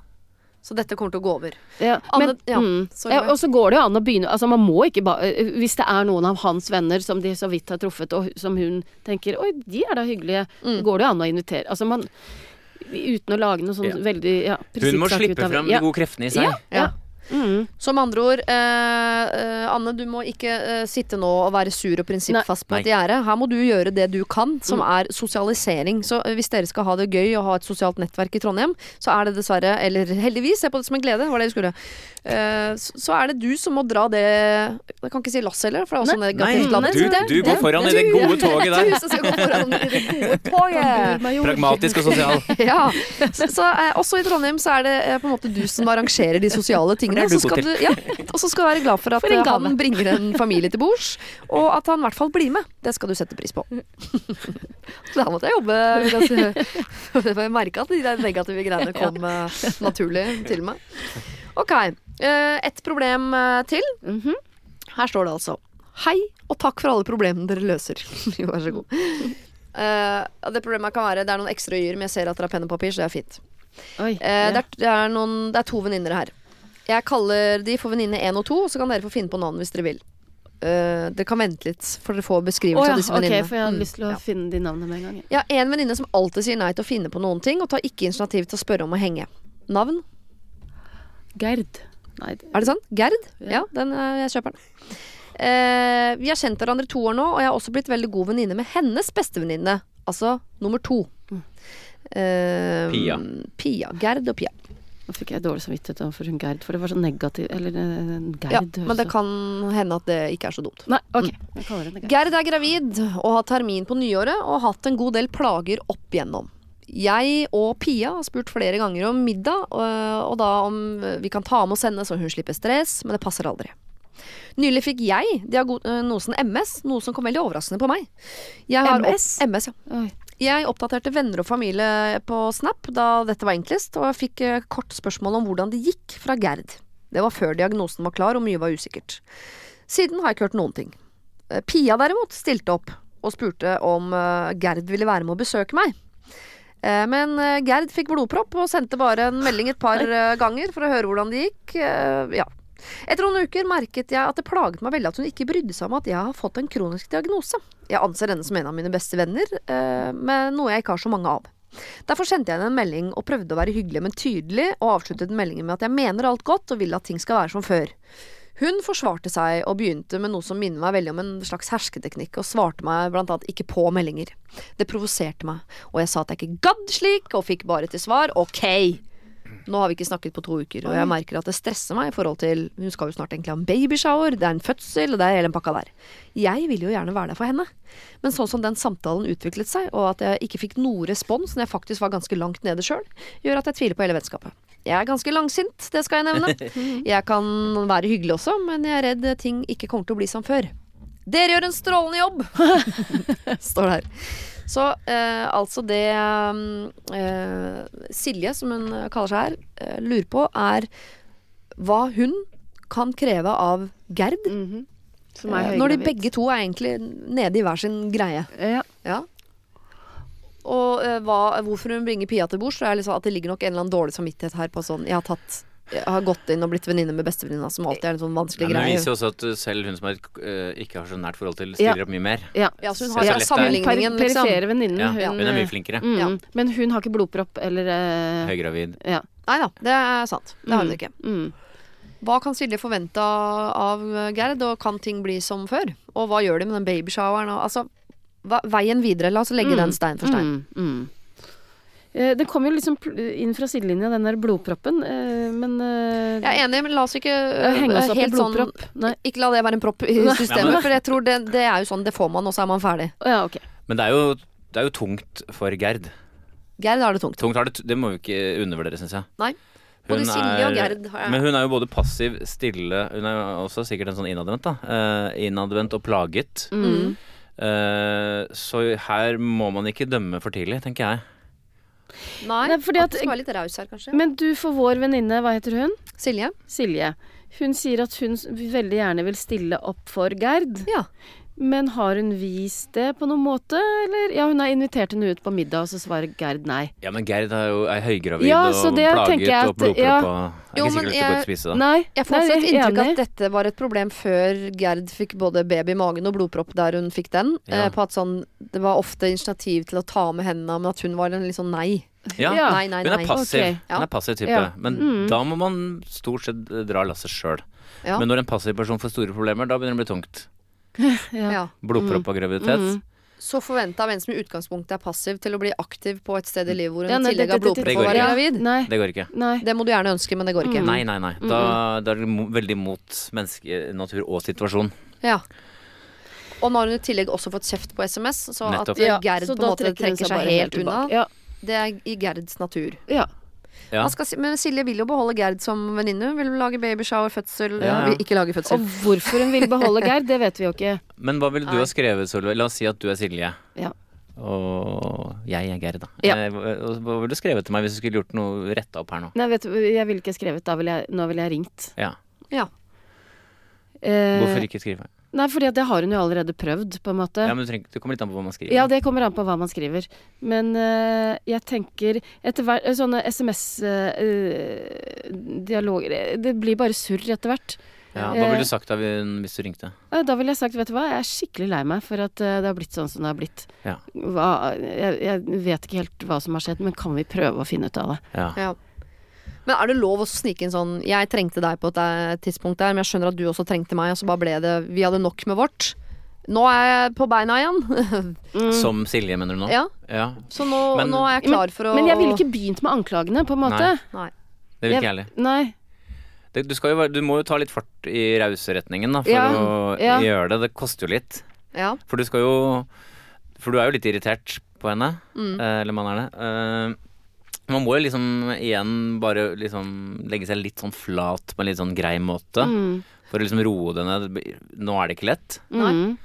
Så dette kommer til å gå over.
Ja,
Anne-
men,
ja,
mm,
sorry,
ja,
Maja.
og så går det jo an å begynne altså man må ikke ba, Hvis det er noen av hans venner som de så vidt har truffet, og som hun tenker Oi, de er da hyggelige.
Mm.
Går det jo an å invitere altså man, Uten å lage noe sånn
Ja.
veldig ja,
Hun må
prinsippsak ut
slippe
av-
fram
ja.
de gode kreftene i seg.
Ja.
Ja.
Mm.
Så med andre ord, eh, eh, Anne, du må ikke eh, sitte nå og være sur og prinsippfast på
Nei. Mm.
et gjerde. Her må du gjøre det du kan, som er sosialisering. Så eh, hvis dere skal ha det gøy og ha et sosialt nettverk i Trondheim, så er det dessverre, eller heldigvis, se på det som en glede, var det vi skulle, eh, så, så er det du som må dra det Jeg kan ikke si lass heller, for det er også negativt ladet.
du, du går foran i det gode toget
Du
der.
som skal gå foran i det gode toget.
Mm.
Pragmatisk og sosial.
Ja. Så, så, eh, også i Trondheim så er det eh, på en måte du som arrangerer de sosiale tingene.
For det er du
så skal
god
du, ja, og så skal du være glad for at
For en
eh,
gave.
han bringer en familie til bords, og at han i hvert fall blir med. Det skal du sette pris på. Så da måtte jeg jobbe. vil jeg si. For Jeg merka at de der negative greiene kom eh, naturlig til meg. Ok. eh, Ett problem eh, til.
Mhm.
Her står det altså. Hei, og takk for alle problemene dere løser. Jo, vær så god. Eh, og det problemet kan være Det er noen ekstra y-er, men jeg ser at dere har penn og papir, så det er fint.
Oi.
Eh,
ja.
det, er, det, er noen, det er to venninner her. Jeg kaller de for venninne én og to, så kan dere få finne på navn hvis dere vil. Eh, dere kan vente litt, for dere får beskrivelse
Å ja,
av disse
ok,
venninnene.
for jeg hadde
Mm,
lyst til å
ja.
finne de navnene med en gang. jeg.
Jeg har en venninne som alltid sier nei til å finne på noen ting, og tar ikke initiativ til å spørre om å henge. Navn?
Gerd. Nei, det-
Er det sånn? Gerd?
Ja.
Ja, den, eh, jeg kjøper den. Eh, vi har kjent hverandre to år nå, og jeg har også blitt veldig god venninne med hennes bestevenninne. Altså nummer to.
Mm.
Eh,
Pia.
Pia. Gerd og Pia.
nå fikk jeg dårlig samvittighet overfor hun Gerd, for det var så negativ Eller eh, Gerd
Ja,
høres
men det
så-
kan hende at det ikke er så dumt.
Nei, ok. Jeg kaller henne Gerd.
Gerd er gravid og har termin på nyåret og har hatt en god del plager opp igjennom. Jeg og Pia har spurt flere ganger om middag, øh, og da om vi kan ta med oss henne så hun slipper stress, men det passer aldri. Nylig fikk jeg øh, diagnosen MS, noe som kom veldig overraskende på meg. Jeg har opp-
MS?
MS, ja.
Oi.
Jeg oppdaterte venner og familie på Snap da dette var enklest, og jeg fikk eh, kort spørsmål om hvordan det gikk fra Gerd. Det var før diagnosen var klar og mye var usikkert. Siden har jeg ikke hørt noen ting. Eh, Pia derimot stilte opp og spurte om eh, Gerd ville være med å besøke meg. Eh, Men eh, Gerd fikk blodpropp og sendte bare en melding et par eh, ganger for å høre hvordan det gikk. Eh, Ja. Etter noen uker merket jeg at det plaget meg veldig at hun ikke brydde seg om at jeg har fått en kronisk diagnose. Jeg anser henne som en av mine beste venner, eh, men noe jeg ikke har så mange av. Derfor sendte jeg henne en melding og prøvde å være hyggelig, men tydelig, og avsluttet meldingen med at jeg mener alt godt og vil at ting skal være som før. Hun forsvarte seg og begynte med noe som minner meg veldig om en slags hersketeknikk, og svarte meg blant annet ikke på meldinger. Det provoserte meg, og jeg sa at jeg ikke gadd slik, og fikk bare til svar ok. Nå har vi ikke snakket på to uker, og jeg merker at det stresser meg i forhold til Hun skal jo snart egentlig ha en babyshower, det er en fødsel, og det er hele den pakka der. Jeg ville jo gjerne være der for henne, men sånn som den samtalen utviklet seg, og at jeg ikke fikk noe respons når jeg faktisk var ganske langt nede sjøl, gjør at jeg tviler på hele vennskapet. Jeg er ganske langsint, det skal jeg nevne. Jeg kan være hyggelig også, men jeg er redd ting ikke kommer til å bli som før. Dere gjør en strålende jobb! Står det her. Så eh, altså det eh, Silje, som hun kaller seg her, eh, lurer på, er hva hun kan kreve av Gerd.
Mhm. Som er
eh, Når de
høygravid.
begge to er egentlig nede i hver sin greie.
Ja.
Ja. Og eh, hva, hvorfor hun bringer Pia til bords, så er liksom at det ligger nok en eller annen dårlig samvittighet her på sånn Jeg har tatt jeg har gått inn og blitt venninne med bestevenninna, som alltid er en sånn vanskelig
Nei, men det
greie.
viser jo også at uh, selv hun som har, et, uh, ikke har så nært forhold til, stiller opp mye mer.
ja.
Ja, så hun
Så
har
lett det er.
sammenligningen,
Per
liksom.
perifere venninnen.
Ja,
Mm, hun,
hun er mye flinkere.
Mm,
Ja.
Men hun har ikke blodpropp eller eh,
Høygravid.
Ja.
Nei da, det er sant. Det har hun ikke.
Mm.
Hva kan Silje forvente av Gerd, og kan ting bli som før? Og hva gjør de med den babyshoweren? og- Altså, hva, veien videre. La oss legge den stein for stein.
Mm, mm. Eh, Den kom jo liksom pl- inn fra sidelinja, den der blodproppen, eh, men eh,
Jeg er enig, men la oss ikke
eh,
øh,
henge oss opp i
helt sånn
blodpropp. Nei.
Ikke la det være en propp i
Ja,
systemet,
men-
for jeg tror det, det er jo sånn det får man, og så er man ferdig.
Å, Ja, ok.
Men det er jo, det er jo tungt for Gerd.
Gerd har det tungt.
Tungt har det, det må vi ikke undervurdere, syns jeg.
Nei. Både
Hun
Silje og
er-
Gerd har
Men hun er jo både passiv, stille Hun er jo også sikkert en sånn innadvendt, da. Eh, innadvendt og plaget.
Mm.
Eh, så her må man ikke dømme for tidlig, tenker jeg.
Nei,
Nei, fordi
at
at-
du skal være litt raus her, kanskje.
Men du, for vår venninne, hva heter hun?
Silje?
Silje. Hun sier at hun s- veldig gjerne vil stille opp for Gerd,
Ja.
men har hun vist det på noen måte, eller? Ja, hun har invitert henne ut på middag, og så svarer Gerd nei.
Ja, men Gerd er jo er høygravid
Ja,
og
så det tenker
plaget
jeg
og
at-
blodpropp
ja.
og Det
Jo,
er ikke
men
sikkert at du
jeg-
får spise det.
Nei,
Jeg får også
nei,
et
jeg er
inntrykk
enig.
at dette var et problem før Gerd fikk både baby i magen og blodpropp der hun fikk den.
Ja.
eh, På at sånn, Det var ofte initiativ til å ta med hendene, men at hun var en litt sånn nei.
Ja.
Ja.
Nei, nei,
Hun
nei.
er passiv.
Ok.
Ja.
Hun er passiv type.
Ja.
Men da må man stort sett eh, dra lasset sjøl.
Ja.
Men når en passiv person får store problemer, da begynner det å bli tungt.
Ja. Mm.
Blodpropp og graviditet.
Mm.
Så forventa av en som i utgangspunktet er passiv, til å bli aktiv på et sted i livet hvor hun
Ja,
i
nei,
tillegg
det-
har
det- det-
blodpropp og
det går
var
ikke.
gravid.
Nei,
Det går ikke.
nei.
Det må du gjerne ønske, men det går
Mm.
ikke.
Nei, nei, nei. Da, da er det mo veldig mot menneske, natur og situasjon.
Ja. Og nå har hun i tillegg også fått kjeft på SMS, så
Nettopp.
at eh,
Ja,
Gerd
så
på en
da
måte trekker,
hun
seg
bare
helt
tilbake.
unna,
Ja,
det er i Gerds natur.
ja.
Ja.
Man skal, si- men Silje vil jo beholde Gerd som venninne. Hun Vil lage babyshower, fødsel
Ja, ja.
Vil ikke lage
Og
fødsel.
hvorfor hun vil beholde Geir, det vet vi jo ikke.
Men hva ville du
Nei.
ha skrevet, Solveig? La oss si at du er Silje.
Ja.
Og jeg er Gerd, da.
Ja.
Eh, hva- hva ville du skrevet til meg hvis du skulle gjort noe retta opp her nå?
Nei, vet du, jeg ville ikke skrevet. Da ville jeg, nå ville jeg ringt.
Ja.
Ja.
Eh,
Hvorfor ikke skrive?
Nei, fordi at det har hun jo allerede prøvd, på en måte.
Ja, men du trenger, ikke- det kommer litt an på hva man skriver.
Ja, det kommer an på hva man skriver. Men eh, jeg tenker etter hvert Sånne SMS-dialoger eh, Det blir bare surr etter hvert.
Ja, hva ville du sagt da vi- hvis du ringte?
Eh, Da ville jeg sagt, vet du hva, jeg er skikkelig lei meg for at eh, det har blitt sånn som det har blitt.
Ja.
Hva, jeg, jeg vet ikke helt hva som har skjedd, men kan vi prøve å finne ut av det?
Ja.
Ja. Men er det lov å snike inn sånn Jeg trengte deg på et eh, tidspunkt der, men jeg skjønner at du også trengte meg, og så bare ble det Vi hadde nok med vårt. Nå er jeg på beina igjen.
Mm.
Som Silje, mener du nå?
ja,
Ja,
så nå,
Men-
nå er jeg klar for å
Men jeg ville ikke begynt med anklagene, på en måte.
Nei,
Nei.
Det vil ikke jeg heller.
Nei.
Det- Du, skal jo, være- du må jo ta litt fart i rauseretningen da, for
Ja,
å
ja.
gjøre det. Det koster jo litt.
Ja.
For du skal jo For du er jo litt irritert på henne.
Mm.
eh, Eller man er det. Eh, Man må jo liksom igjen bare liksom legge seg litt sånn flat på en litt sånn grei måte.
Mm.
For å liksom roe det ned. Det blir- Nå er det ikke lett.
Nei.
Mm.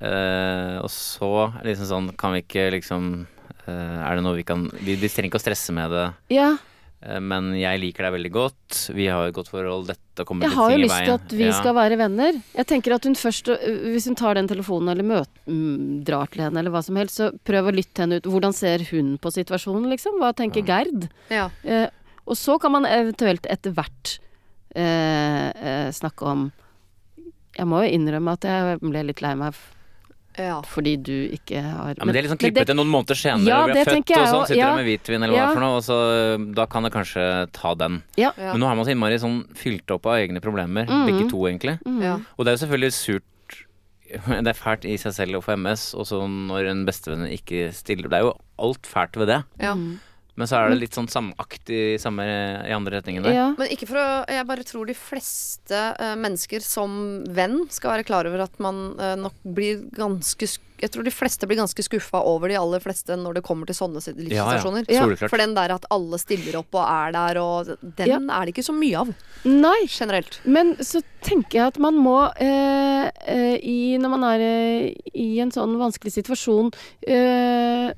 Eh, og så er det liksom sånn Kan vi ikke liksom eh, Er det noe vi kan Vi, vi trenger ikke å stresse med det.
Ja.
Eh, Men jeg liker deg veldig godt. Vi har et godt forhold. Dette kommer
Jeg
til
har jo
ting i
lyst til
veien.
at vi
Ja.
skal være venner. Jeg tenker at hun først, øh, Hvis hun tar den telefonen eller møt, mm, drar til henne eller hva som helst, så prøv å lytte henne ut. Hvordan ser hun på situasjonen, liksom? Hva tenker Gerd?
Ja.
Eh, og så kan man eventuelt etter hvert eh, eh, snakke om Jeg må jo innrømme at jeg ble litt lei meg f-
ja.
fordi du ikke har
ja, men det er liksom klippet til noen måneder senere.
Ja,
vi er
det
født
tenker jeg
og sånn,
jo,
sitter
ja.
der med hvitvin eller hva det
Ja.
er for noe, og så eh, da kan jeg kanskje ta den.
Ja. Mm-hmm.
Ja.
Men nå er man så innmari sånn fylt opp av egne problemer, begge to egentlig.
Mm.
ja.
Og det er jo selvfølgelig surt Det er fælt i seg selv å få MS, og så når en bestevenn ikke stiller Det er jo alt fælt ved det,
ja.
men så er det litt sånn samaktig samme i andre retningen der.
Mm. ja.
Men ikke for å Jeg bare tror de fleste eh, mennesker som venn skal være klar over at man eh, nok blir ganske sk- Jeg tror de fleste blir ganske skuffa over de aller fleste når det kommer til sånne sit- livssituasjoner.
Ja, ja. Soleklart.
For den der at alle stiller opp og er der og Den
Ja.
er det ikke så mye av
Nei,
generelt.
Men så tenker jeg at man må, eh, eh, i, når man er eh, i en sånn vanskelig situasjon, eh,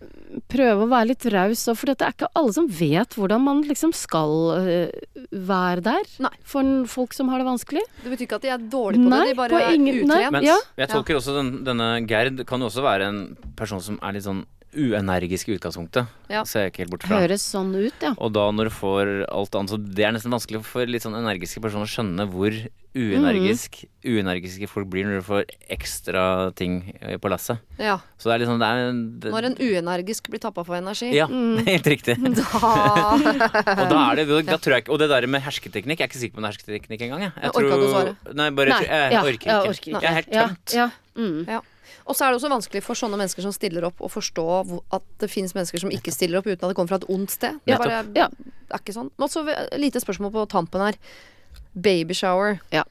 prøve å være litt raus. og- For det er ikke alle som vet hvordan man liksom skal eh, være der
Nei.
for n- folk som har det vanskelig.
Det betyr ikke at de er dårlige på
Nei,
det, de bare
på
er
ingen- nei.
utrent.
Men
Ja.
jeg tolker også den, denne Gerd kan jo også være en person som er litt sånn uenergisk i utgangspunktet.
Ja.
Ser jeg ikke helt bort fra.
Høres sånn ut, ja.
Og da når du får alt annet, så det er nesten vanskelig for litt sånn energiske personer å skjønne hvor uenergisk uenergiske folk blir når du får ekstra ting eh, på lasset.
Ja.
Så det er liksom det er, en- det,
Når en uenergisk blir tappa for energi,
Ja, helt riktig.
da
Og da er det, da tror jeg ikke, og det der med hersketeknikk, jeg er ikke sikker på om det er hersketeknikk engang. Jeg,
Jeg orker ikke å
Nei, bare,
Nei,
jeg, jeg,
ja,
orker ikke.
jeg orker ikke.
Jeg er helt
Ja,
tømt.
ja. Mm.
Ja. Og så er det også vanskelig for sånne mennesker som stiller opp, å forstå hvor- at det finnes mennesker som ikke stiller opp uten at det kommer fra et ondt sted. Det
Ja.
bare
Ja.
er ikke sånn. Og så et lite spørsmål på tampen her. Babyshower.
Ja.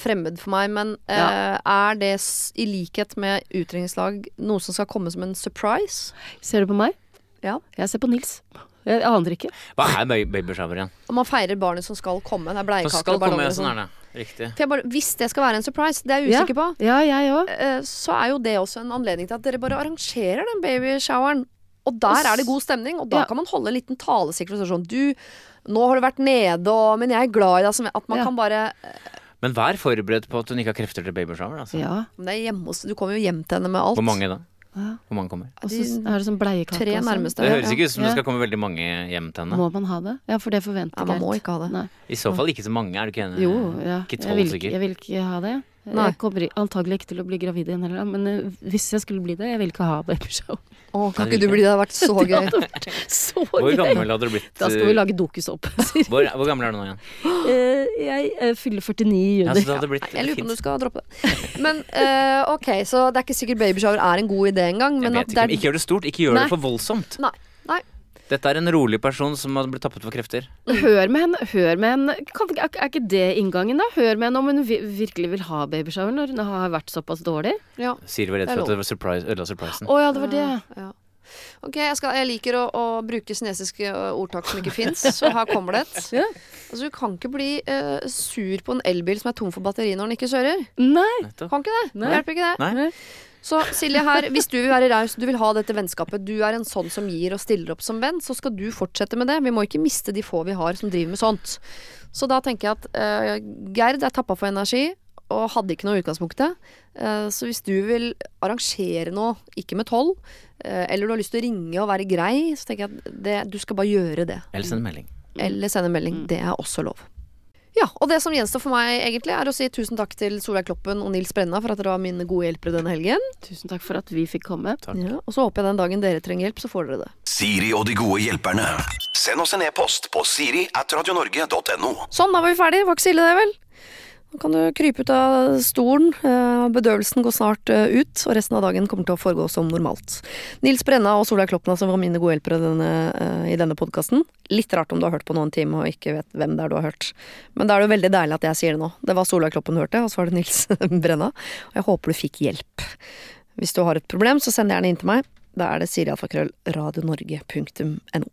Fremmed for meg, men eh, er det s- i likhet med utdrikningslag noe som skal komme som en surprise?
Ser du på meg?
Ja.
Jeg ser på Nils. Jeg aner ikke.
Hva er baby- babyshower igjen?
Og man feirer barnet som skal komme. Det er
Som
bleiekaker
skal
og
komme,
ballonger og
sånn
sånn.
er det. Riktig.
For jeg bare, hvis det skal være en surprise, det er jeg usikker på.
Ja, jeg òg.
eh, så er jo det også en anledning til at dere bare arrangerer den babyshoweren. Og der er det god stemning, og da
Ja.
kan man holde en liten talesikkerhet. Sånn, du, nå har du vært nede, og, men jeg er glad i deg. Som, at man
Ja.
kan bare
Men vær forberedt på at hun ikke har krefter til babyshower. Altså.
Ja.
Men det er hjemme hos Du kommer jo hjem til henne med alt.
Hvor mange da?
Ja.
Hvor mange kommer?
Og så er det sånn bleiekake.
Tre
og sånn.
nærmeste.
Det
Ja,
høres ikke ut som
Ja.
det skal komme veldig mange hjem til henne.
Må man ha det? Ja, for det forventer
Ja, man må
Gert.
ikke ha det.
Nei.
I så fall ikke så mange, er du ikke enig?
Jo, ja.
Eh, Ikke
jeg,
tolv,
vil, ikke-
sikkert.
jeg vil ikke ha det.
Nei.
Jeg kommer i- antagelig ikke til å bli gravid igjen heller, da, men eh, hvis jeg skulle bli det, jeg vil ikke ha babyshow.
Å, kan ikke du bli det? Det hadde vært så gøy.
Så
Hvor
gøy!
gammel hadde du blitt?
Da skal vi lage dokusopp.
eh, hvor, hvor gammel er du nå igjen?
Eh, jeg eh, fyller 49 i
Ja, så
juni.
det hadde blitt
Jeg lurer på om
fint.
du skal droppe det. Men eh, ok, så det er ikke sikkert babyshower er en god idé engang.
Jeg
Men
vet
at
ikke,
det
men
er
ikke gjør det stort, ikke gjør
Nei.
det for voldsomt.
Nei. Nei.
Dette er en rolig person som har blitt tappet for krefter.
Hør med henne, hør med henne. Kan, er, er ikke det inngangen, da? Hør med henne om hun vi, virkelig vil ha babyshower når hun har vært såpass dårlig.
Ja.
Siri var redd
Det er
for
lov.
at det var surprise, ødela surprisen.
Å ja, det var det.
Ja. Ok, jeg, skal, jeg liker å, å bruke kinesiske ø, ordtak som ikke fins, så her kommer det et.
Ja.
Altså, du kan ikke bli ø, sur på en elbil som er tom for batteri når den ikke kjører.
Nei!
Nettopp.
Kan ikke det.
Nei.
Det hjelper ikke det.
Nei?
Så Silje her, hvis du vil være raus, du vil ha dette vennskapet, du er en sånn som gir og stiller opp som venn, så skal du fortsette med det. Vi må ikke miste eh, de få vi har som driver med sånt. Så da tenker jeg at ø, Gerd er tappa for energi. og hadde ikke noe i utgangspunktet. Eh, Så hvis du vil arrangere noe, ikke med tolv, eh, eller du har lyst til å ringe og være grei, så tenker jeg at det, du skal bare gjøre det.
Eller send en melding.
Eller sende en melding. Det er også lov. Ja, og det som gjenstår for meg egentlig, er å si tusen takk til Solveig Kloppen og Nils Brenna for at dere var mine gode hjelpere denne helgen.
Tusen takk for at vi fikk komme.
Takk.
Ja, og så håper jeg den dagen dere trenger hjelp, så får dere det.
Siri og de gode hjelperne. Send oss en e-post på siri at radionorge.no.
Sånn, da var vi ferdig. Var ikke så ille, det, vel? Nå kan du krype ut av stolen. Eh, Bedøvelsen går snart eh, ut, og resten av dagen kommer til å foregå som normalt. Nils Brenna og Solveig Kloppen, som var mine gode hjelpere denne, eh, i denne podkasten. Litt rart om du har hørt på noen time og ikke vet hvem det er du har hørt. Men da er det jo veldig deilig at jeg sier det nå. Det var Solveig Kloppen du hørte, og så var det Nils Brenna. Og jeg håper du fikk hjelp. Hvis du har et problem, så send gjerne inn til meg. Da er det sirialfakrøllradionorge.no.